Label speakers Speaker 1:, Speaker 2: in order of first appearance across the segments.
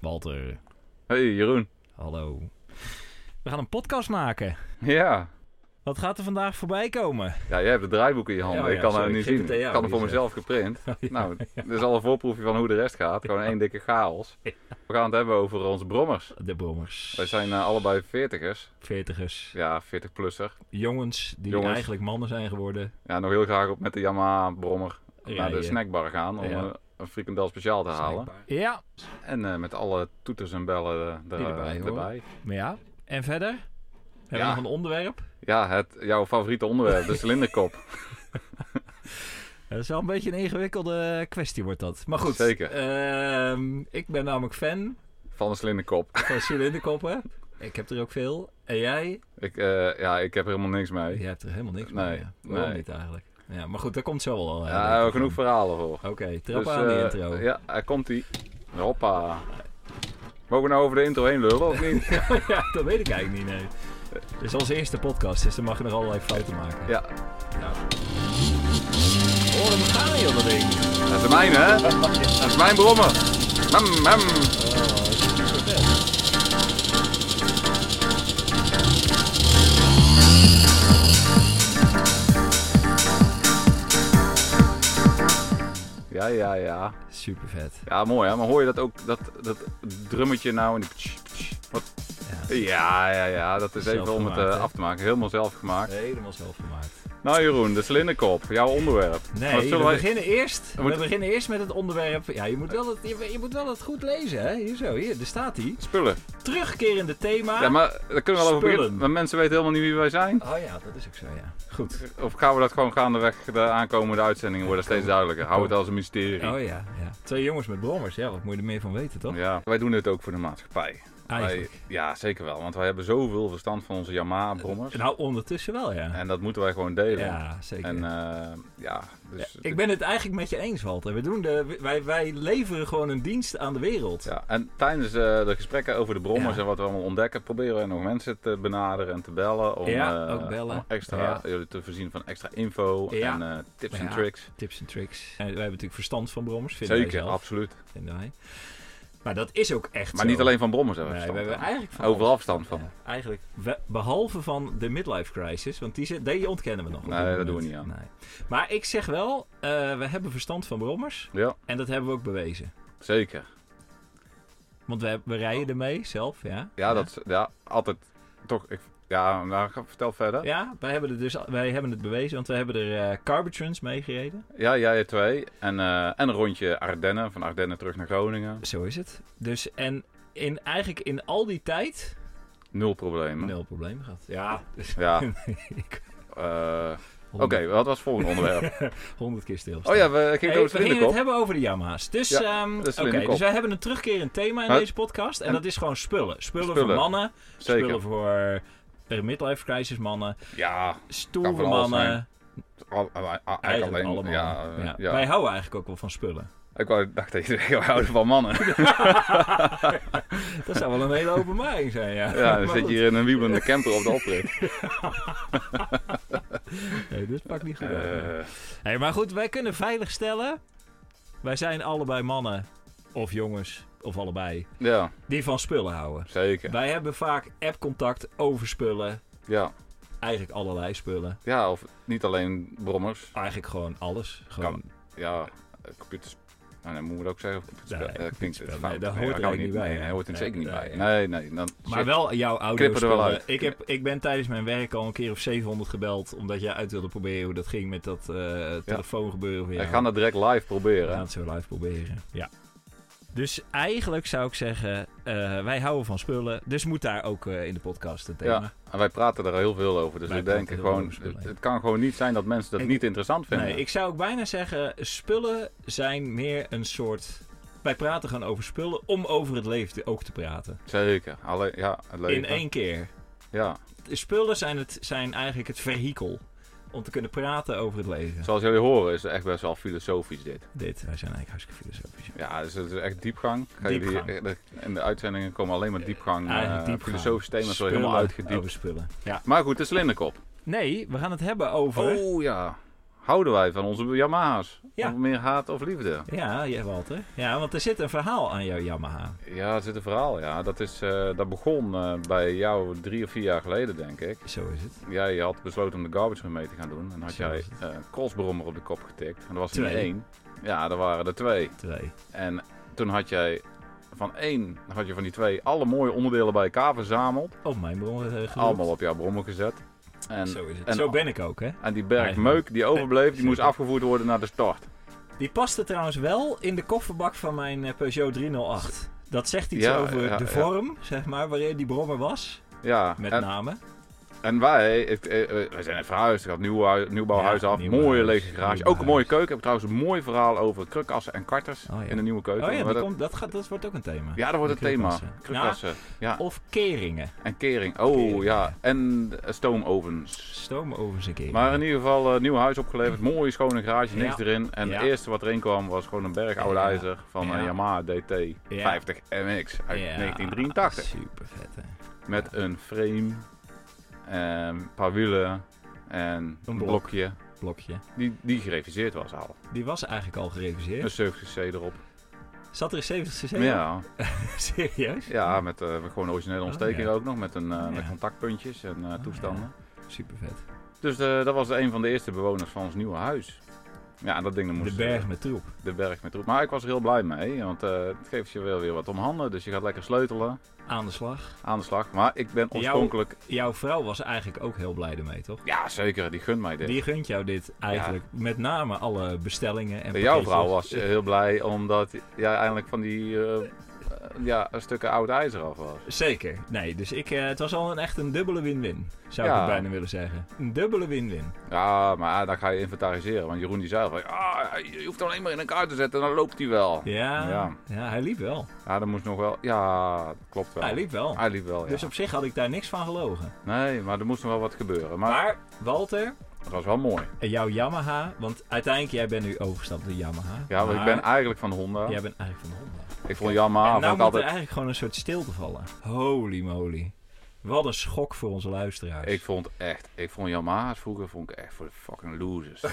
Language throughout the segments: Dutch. Speaker 1: Walter,
Speaker 2: Hey Jeroen.
Speaker 1: hallo. We gaan een podcast maken.
Speaker 2: Ja.
Speaker 1: Wat gaat er vandaag voorbij komen?
Speaker 2: ja, jij hebt het draaiboek in je handen.
Speaker 1: Oh Ja, ja,
Speaker 2: ik kan
Speaker 1: sorry,
Speaker 2: het niet
Speaker 1: ik geef
Speaker 2: zien.
Speaker 1: het aan jou,
Speaker 2: ik had het voor
Speaker 1: die is
Speaker 2: mezelf geprint.
Speaker 1: ja.
Speaker 2: Nou, dit is al een voorproefje van hoe de rest gaat. Gewoon één dikke chaos. We gaan het hebben over onze brommers.
Speaker 1: De brommers,
Speaker 2: Wij zijn eh, allebei veertigers.
Speaker 1: veertigers,
Speaker 2: Ja, 40-plusser.
Speaker 1: jongens die
Speaker 2: Jongens.
Speaker 1: eigenlijk mannen zijn geworden.
Speaker 2: Ja, nog heel graag op met de Yamaha-brommer naar de
Speaker 1: Rijden.
Speaker 2: snackbar gaan om
Speaker 1: Ja.
Speaker 2: eh, een frikandel speciaal te halen.
Speaker 1: Ja,
Speaker 2: En eh, met alle toeters en bellen eh, er,
Speaker 1: Die erbij
Speaker 2: eh,
Speaker 1: horen.
Speaker 2: erbij.
Speaker 1: maar ja. En verder? Hebben
Speaker 2: Ja.
Speaker 1: we nog een onderwerp?
Speaker 2: Ja, het, jouw favoriete onderwerp, de cilinderkop.
Speaker 1: Dat is wel een beetje een ingewikkelde kwestie wordt dat. Maar goed,
Speaker 2: Zeker.
Speaker 1: ehm, ik ben namelijk fan
Speaker 2: Van de cilinderkop.
Speaker 1: van cilinderkoppen. ik heb er ook veel. En jij?
Speaker 2: Ik, eh, ja, ik heb er helemaal niks mee.
Speaker 1: Jij hebt er helemaal niks
Speaker 2: Nee,
Speaker 1: mee. ja. Waarom
Speaker 2: nee.
Speaker 1: niet eigenlijk? Ja, maar goed, daar komt zo wel. eh,
Speaker 2: Ja, daar
Speaker 1: later
Speaker 2: hebben we
Speaker 1: van.
Speaker 2: genoeg verhalen voor.
Speaker 1: Oké, trap
Speaker 2: Dus,
Speaker 1: aan die
Speaker 2: eh,
Speaker 1: intro.
Speaker 2: Ja, daar komt ie. Hoppa. Mogen we nou over de intro heen lullen of niet?
Speaker 1: ja, dat weet ik eigenlijk niet, nee. Dit is onze eerste podcast, dus dan mag je nog allerlei fouten maken.
Speaker 2: ja,
Speaker 1: Oh, dan gaan we joh, dat ding. Oh,
Speaker 2: dat is de mijne hè? Dat is mijn brommer. Mem, mem.
Speaker 1: Oh, dat is super vet.
Speaker 2: Ja, ja, ja.
Speaker 1: Super vet.
Speaker 2: Ja, mooi hè. Maar hoor je dat ook, dat, dat drummetje nou en die ptsch, ptsch, wat?
Speaker 1: Ja.
Speaker 2: Ja, ja, ja. Dat is even om het
Speaker 1: Zelfgemaakt,
Speaker 2: eh,
Speaker 1: hè?
Speaker 2: af te maken. Helemaal zelf gemaakt.
Speaker 1: Helemaal zelf gemaakt.
Speaker 2: Nou Jeroen, de cilinderkop. Jouw onderwerp. Wat
Speaker 1: Nee, we,
Speaker 2: zullen wij...
Speaker 1: beginnen eerst, we,
Speaker 2: moeten-
Speaker 1: beginnen eerst met het onderwerp. Ja, je moet wel het, je, je moet wel het goed lezen, hè? Hier zo, hier, daar staat hij.
Speaker 2: Spullen.
Speaker 1: Terugkerende thema.
Speaker 2: Ja, maar daar kunnen we wel over beginnen.
Speaker 1: Spullen.
Speaker 2: Maar mensen weten helemaal niet wie wij zijn.
Speaker 1: Oh ja, dat is ook zo, ja. Goed.
Speaker 2: Of gaan we dat gewoon gaandeweg de aankomende uitzendingen worden steeds duidelijker? Hou het als een mysterie.
Speaker 1: Oh ja, ja. Twee jongens met brommers, ja, wat moet je er meer van weten, toch? Ah,
Speaker 2: Ja, wij doen dit ook voor de maatschappij. Wij,
Speaker 1: Eigenlijk.
Speaker 2: ja, zeker wel. Want wij hebben zoveel verstand van onze Yamaha-brommers.
Speaker 1: Nou, ondertussen wel, ja.
Speaker 2: En dat moeten wij gewoon delen.
Speaker 1: nou. Ja, zeker.
Speaker 2: en eh, ja, dus...
Speaker 1: Ik ben het eigenlijk met je eens, Walter. We doen de, wij, wij leveren gewoon een dienst aan de wereld.
Speaker 2: Ja, en tijdens eh, de gesprekken over de brommers
Speaker 1: Ja.
Speaker 2: en wat we allemaal ontdekken, proberen we nog mensen te benaderen en te bellen. Om,
Speaker 1: Ja,
Speaker 2: eh,
Speaker 1: ook bellen.
Speaker 2: om extra,
Speaker 1: Ja.
Speaker 2: jullie te voorzien van extra info
Speaker 1: Ja.
Speaker 2: en eh, tips en
Speaker 1: Ja.
Speaker 2: tricks.
Speaker 1: Tips en tricks. En wij hebben natuurlijk verstand van brommers, vinden wij
Speaker 2: Zeker,
Speaker 1: zelf.
Speaker 2: absoluut.
Speaker 1: Vinden wij. Maar dat is ook echt
Speaker 2: Maar
Speaker 1: zo.
Speaker 2: niet alleen van brommers hebben we
Speaker 1: Nee, we
Speaker 2: verstand
Speaker 1: hebben
Speaker 2: van.
Speaker 1: eigenlijk van
Speaker 2: Overal verstand van.
Speaker 1: Ja, eigenlijk, we- behalve van de midlife crisis, want die, zit- die ontkennen we nog. op
Speaker 2: Nee,
Speaker 1: dit moment.
Speaker 2: dat doen we niet aan.
Speaker 1: Nee. Maar ik zeg wel, eh, we hebben verstand van brommers
Speaker 2: Ja,
Speaker 1: en dat hebben we ook bewezen.
Speaker 2: zeker.
Speaker 1: Want we, we rijden ermee zelf, ja.
Speaker 2: Ja, dat is- ja altijd toch. Ik, ja, nou, ga- vertel verder. Ja,
Speaker 1: Ja, wij hebben, het dus, wij hebben het bewezen, want we hebben er eh Carbitrans mee gereden.
Speaker 2: jij hebt twee. En, eh, en een rondje Ardennen, van Ardennen terug naar Groningen.
Speaker 1: Zo is het. Dus en in, eigenlijk in al die tijd
Speaker 2: Nul problemen.
Speaker 1: nul probleem gehad. Ja. Dus,
Speaker 2: Hm. Ja. Ah.
Speaker 1: ik-
Speaker 2: eh, Oké,
Speaker 1: 100
Speaker 2: wat was het volgende onderwerp?
Speaker 1: 100 keer stilstaan.
Speaker 2: Oh ja, we gingen
Speaker 1: Hey,
Speaker 2: over
Speaker 1: we gingen het
Speaker 2: Slinderkop.
Speaker 1: hebben over de Yamaha's. Dus,
Speaker 2: Ja,
Speaker 1: ehm,
Speaker 2: dat is
Speaker 1: oké,
Speaker 2: Vlinderkop.
Speaker 1: dus wij hebben een terugkerend thema in
Speaker 2: Maar-
Speaker 1: deze podcast. En,
Speaker 2: en-
Speaker 1: dat is gewoon spullen. Spullen,
Speaker 2: Spullen.
Speaker 1: voor mannen. Spullen
Speaker 2: Zeker.
Speaker 1: voor eh, midlife crisis mannen.
Speaker 2: Ja, Kan
Speaker 1: Stoere
Speaker 2: van alles
Speaker 1: mannen.
Speaker 2: al, al- al- eigenlijk
Speaker 1: Eigenlijk
Speaker 2: alleen.
Speaker 1: allemaal.
Speaker 2: Ja, eh,
Speaker 1: Ja.
Speaker 2: ja.
Speaker 1: Wij houden eigenlijk ook wel van spullen.
Speaker 2: Ik wou, dacht dat je zei, we houden van mannen.
Speaker 1: Dat zou wel een hele openbaring zijn, ja.
Speaker 2: Ja,
Speaker 1: Maar
Speaker 2: dan zit je
Speaker 1: goed.
Speaker 2: hier in een wiebelende camper op de oprit.
Speaker 1: Nee, dit pakt niet goed uit, nee.
Speaker 2: Eh,
Speaker 1: Hé, maar goed, wij kunnen veilig stellen. Wij zijn allebei mannen of jongens of allebei
Speaker 2: ja,
Speaker 1: die van spullen houden.
Speaker 2: zeker.
Speaker 1: Wij hebben vaak appcontact over spullen,
Speaker 2: Ja.
Speaker 1: eigenlijk allerlei spullen,
Speaker 2: ja, of niet alleen brommers.
Speaker 1: eigenlijk gewoon alles. Gewoon,
Speaker 2: Ja, eh, computers. Nou, dan moeten we dat ook zeggen. Of computers.
Speaker 1: Nee,
Speaker 2: eh, dat klinkt
Speaker 1: computerspel.
Speaker 2: fout.
Speaker 1: Nee, daar
Speaker 2: Nee,
Speaker 1: hoort
Speaker 2: dat
Speaker 1: er
Speaker 2: kan
Speaker 1: eigenlijk niet bij,
Speaker 2: Nee,
Speaker 1: hè?
Speaker 2: nee, hoort er
Speaker 1: Nee,
Speaker 2: zeker niet
Speaker 1: nee,
Speaker 2: bij. Nee, nee. Dan
Speaker 1: maar wel jouw audio
Speaker 2: Knippen er wel
Speaker 1: spullen.
Speaker 2: uit.
Speaker 1: Ik, heb, ik ben tijdens mijn werk al een keer of 700 gebeld omdat jij uit wilde proberen hoe dat ging met dat eh, telefoongebeuren van
Speaker 2: We
Speaker 1: jou.
Speaker 2: gaan dat direct live
Speaker 1: We gaan
Speaker 2: proberen.
Speaker 1: het zo live proberen. Ja. Dus eigenlijk zou ik zeggen, eh, wij houden van spullen. Dus moet daar ook eh, in de podcast een thema.
Speaker 2: Ja, en wij praten er heel veel over. Dus
Speaker 1: Wij
Speaker 2: we denken
Speaker 1: praten heel
Speaker 2: gewoon,
Speaker 1: veel over
Speaker 2: het,
Speaker 1: spullen.
Speaker 2: het kan gewoon niet zijn dat mensen dat
Speaker 1: Ik-
Speaker 2: niet interessant vinden.
Speaker 1: nee, ik zou ook bijna zeggen, spullen zijn meer een soort... Wij praten gewoon over spullen om over het leven ook te praten.
Speaker 2: Zeker. Alleen, ja, het leven.
Speaker 1: In één keer.
Speaker 2: Ja,
Speaker 1: De spullen zijn, het, zijn eigenlijk het vehikel om te kunnen praten over het leven.
Speaker 2: zoals jullie horen is het echt best wel filosofisch dit.
Speaker 1: Dit, wij zijn eigenlijk hartstikke filosofisch.
Speaker 2: Ja, dus het is echt diepgang. Ga jullie-
Speaker 1: Diepgang.
Speaker 2: eh, in de uitzendingen komen alleen maar diepgang.
Speaker 1: Eigenlijk
Speaker 2: eh,
Speaker 1: diepgang. Oh.
Speaker 2: Filosofische thema's worden
Speaker 1: Spullen
Speaker 2: helemaal uitgediept.
Speaker 1: Over spullen. Ja.
Speaker 2: Maar goed, de slinderkop.
Speaker 1: Nee, we gaan het hebben over...
Speaker 2: Oh ja. Houden wij van onze Yamaha's?
Speaker 1: Ja.
Speaker 2: Of meer haat of liefde?
Speaker 1: Ja, ja, Walter. Ja, want er zit een verhaal aan jouw Yamaha.
Speaker 2: Ja, er zit een verhaal. Ja. Dat, is, eh, dat begon eh, bij jou drie of vier jaar geleden, denk ik.
Speaker 1: Zo is het.
Speaker 2: Jij had besloten om de garbage run mee te gaan doen. En had
Speaker 1: Zo
Speaker 2: jij
Speaker 1: is het.
Speaker 2: eh crossbrommer op de kop getikt. En dat was er
Speaker 1: Twee.
Speaker 2: niet één. Ja, er waren er twee.
Speaker 1: Twee.
Speaker 2: En toen had jij van één, had je van die twee alle mooie onderdelen bij elkaar verzameld.
Speaker 1: Op mijn bron eh, geroerd.
Speaker 2: Allemaal op jouw brommer gezet. En,
Speaker 1: Zo is het.
Speaker 2: en-
Speaker 1: Zo ben ik ook, hè.
Speaker 2: en die berg meuk die overbleef, die moest
Speaker 1: Zeker.
Speaker 2: afgevoerd worden naar de start.
Speaker 1: Die paste trouwens wel in de kofferbak van mijn eh, Peugeot 308. Dat zegt iets
Speaker 2: Ja,
Speaker 1: over
Speaker 2: ja,
Speaker 1: de
Speaker 2: ja.
Speaker 1: vorm, zeg maar, waarin die brommer was.
Speaker 2: Ja,
Speaker 1: Met
Speaker 2: en,
Speaker 1: name.
Speaker 2: en wij, ik, eh, eh, wij zijn net verhuisd. Ik had nieuw, hui- nieuwbouwhuis
Speaker 1: Ja,
Speaker 2: af.
Speaker 1: nieuwbouwhuis,
Speaker 2: mooie lege garage. Ook een
Speaker 1: nieuwbouwhuis.
Speaker 2: mooie keuken. Ik heb trouwens een mooi verhaal over krukassen en karters
Speaker 1: Oh, ja.
Speaker 2: in de nieuwe keuken.
Speaker 1: Oh ja,
Speaker 2: Maar
Speaker 1: die
Speaker 2: dat,
Speaker 1: komt, dat, gaat, dat wordt ook een thema.
Speaker 2: ja, dat wordt het
Speaker 1: die
Speaker 2: thema.
Speaker 1: krukassen.
Speaker 2: Krukassen. Ja,
Speaker 1: Of keringen.
Speaker 2: en kering. Oh
Speaker 1: Kering,
Speaker 2: ja,
Speaker 1: ja.
Speaker 2: en eh, stoomovens.
Speaker 1: Stoomovens en keringen.
Speaker 2: Maar in ieder geval, eh nieuw huis opgeleverd. Mooie, schone garage, niks
Speaker 1: Ja.
Speaker 2: erin. En
Speaker 1: Ja.
Speaker 2: het eerste wat erin kwam was gewoon een berg oude
Speaker 1: Ja.
Speaker 2: ijzer van een
Speaker 1: Ja.
Speaker 2: Yamaha DT 50 MX uit
Speaker 1: Ja,
Speaker 2: 1983.
Speaker 1: Super vet, hè.
Speaker 2: Met een frame, en een paar wielen en een
Speaker 1: blok.
Speaker 2: blokje.
Speaker 1: Blokje.
Speaker 2: Die, die gereviseerd was al.
Speaker 1: Die was eigenlijk al gereviseerd.
Speaker 2: Een 70 c erop.
Speaker 1: Zat er 70 cc op?
Speaker 2: Dus- Ja,
Speaker 1: Serieus?
Speaker 2: ja met eh, gewoon originele ontsteking
Speaker 1: Oh, ja.
Speaker 2: ook nog. Met, een, eh,
Speaker 1: Ja. Oh,
Speaker 2: met contactpuntjes en eh, toestanden.
Speaker 1: Super vet.
Speaker 2: Dus eh, dat was een van de eerste bewoners van ons nieuwe huis. Ja, dat ding dat
Speaker 1: De
Speaker 2: moest... eh,
Speaker 1: berg met troep.
Speaker 2: de berg met troep. Maar ik was er heel blij mee, want eh, het geeft je wel weer wat om handen. Dus je gaat lekker sleutelen,
Speaker 1: Aan de slag.
Speaker 2: aan de slag. Maar ik ben
Speaker 1: Jouw-
Speaker 2: oorspronkelijk...
Speaker 1: Jouw vrouw was eigenlijk ook heel blij ermee, toch?
Speaker 2: Ja, zeker, die gunt mij dit.
Speaker 1: Die gunt jou dit eigenlijk. Met name alle bestellingen en
Speaker 2: Jouw
Speaker 1: pakketjes.
Speaker 2: vrouw was eh, heel blij omdat jij eindelijk van die eh, eh, ja, stukken oud ijzer af was.
Speaker 1: Zeker. Nee, dus ik, eh, het was al een, echt een dubbele win-win. Zou ik
Speaker 2: Ja.
Speaker 1: het bijna willen zeggen. Een dubbele win-win.
Speaker 2: Ja, maar dan ga je inventariseren. Want Jeroen die zei van, ah, je hoeft hem alleen maar in elkaar te zetten en dan loopt hij wel. Ja,
Speaker 1: Ja, ja.
Speaker 2: Ja.
Speaker 1: hij liep wel.
Speaker 2: dat moest nog wel... Ja, dat klopt wel.
Speaker 1: Hij liep wel.
Speaker 2: Hij liep wel, ja.
Speaker 1: Dus op zich had ik daar niks van gelogen.
Speaker 2: Nee, maar er moest nog wel wat gebeuren. Maar
Speaker 1: Maar, Walter,
Speaker 2: het was wel mooi.
Speaker 1: en jouw Yamaha. Want uiteindelijk, jij bent nu overgestapt naar Yamaha.
Speaker 2: Ja, want ik
Speaker 1: maar
Speaker 2: ben eigenlijk van Honda.
Speaker 1: Jij bent eigenlijk van de Honda.
Speaker 2: Ik vond Yamaha
Speaker 1: en nou moet
Speaker 2: vond ik
Speaker 1: er
Speaker 2: altijd...
Speaker 1: eigenlijk gewoon een soort stilte vallen. Holy moly. Wat een schok voor onze luisteraars.
Speaker 2: Ik vond echt, ik vond Yamaha's vroeger vond ik echt voor de fucking losers.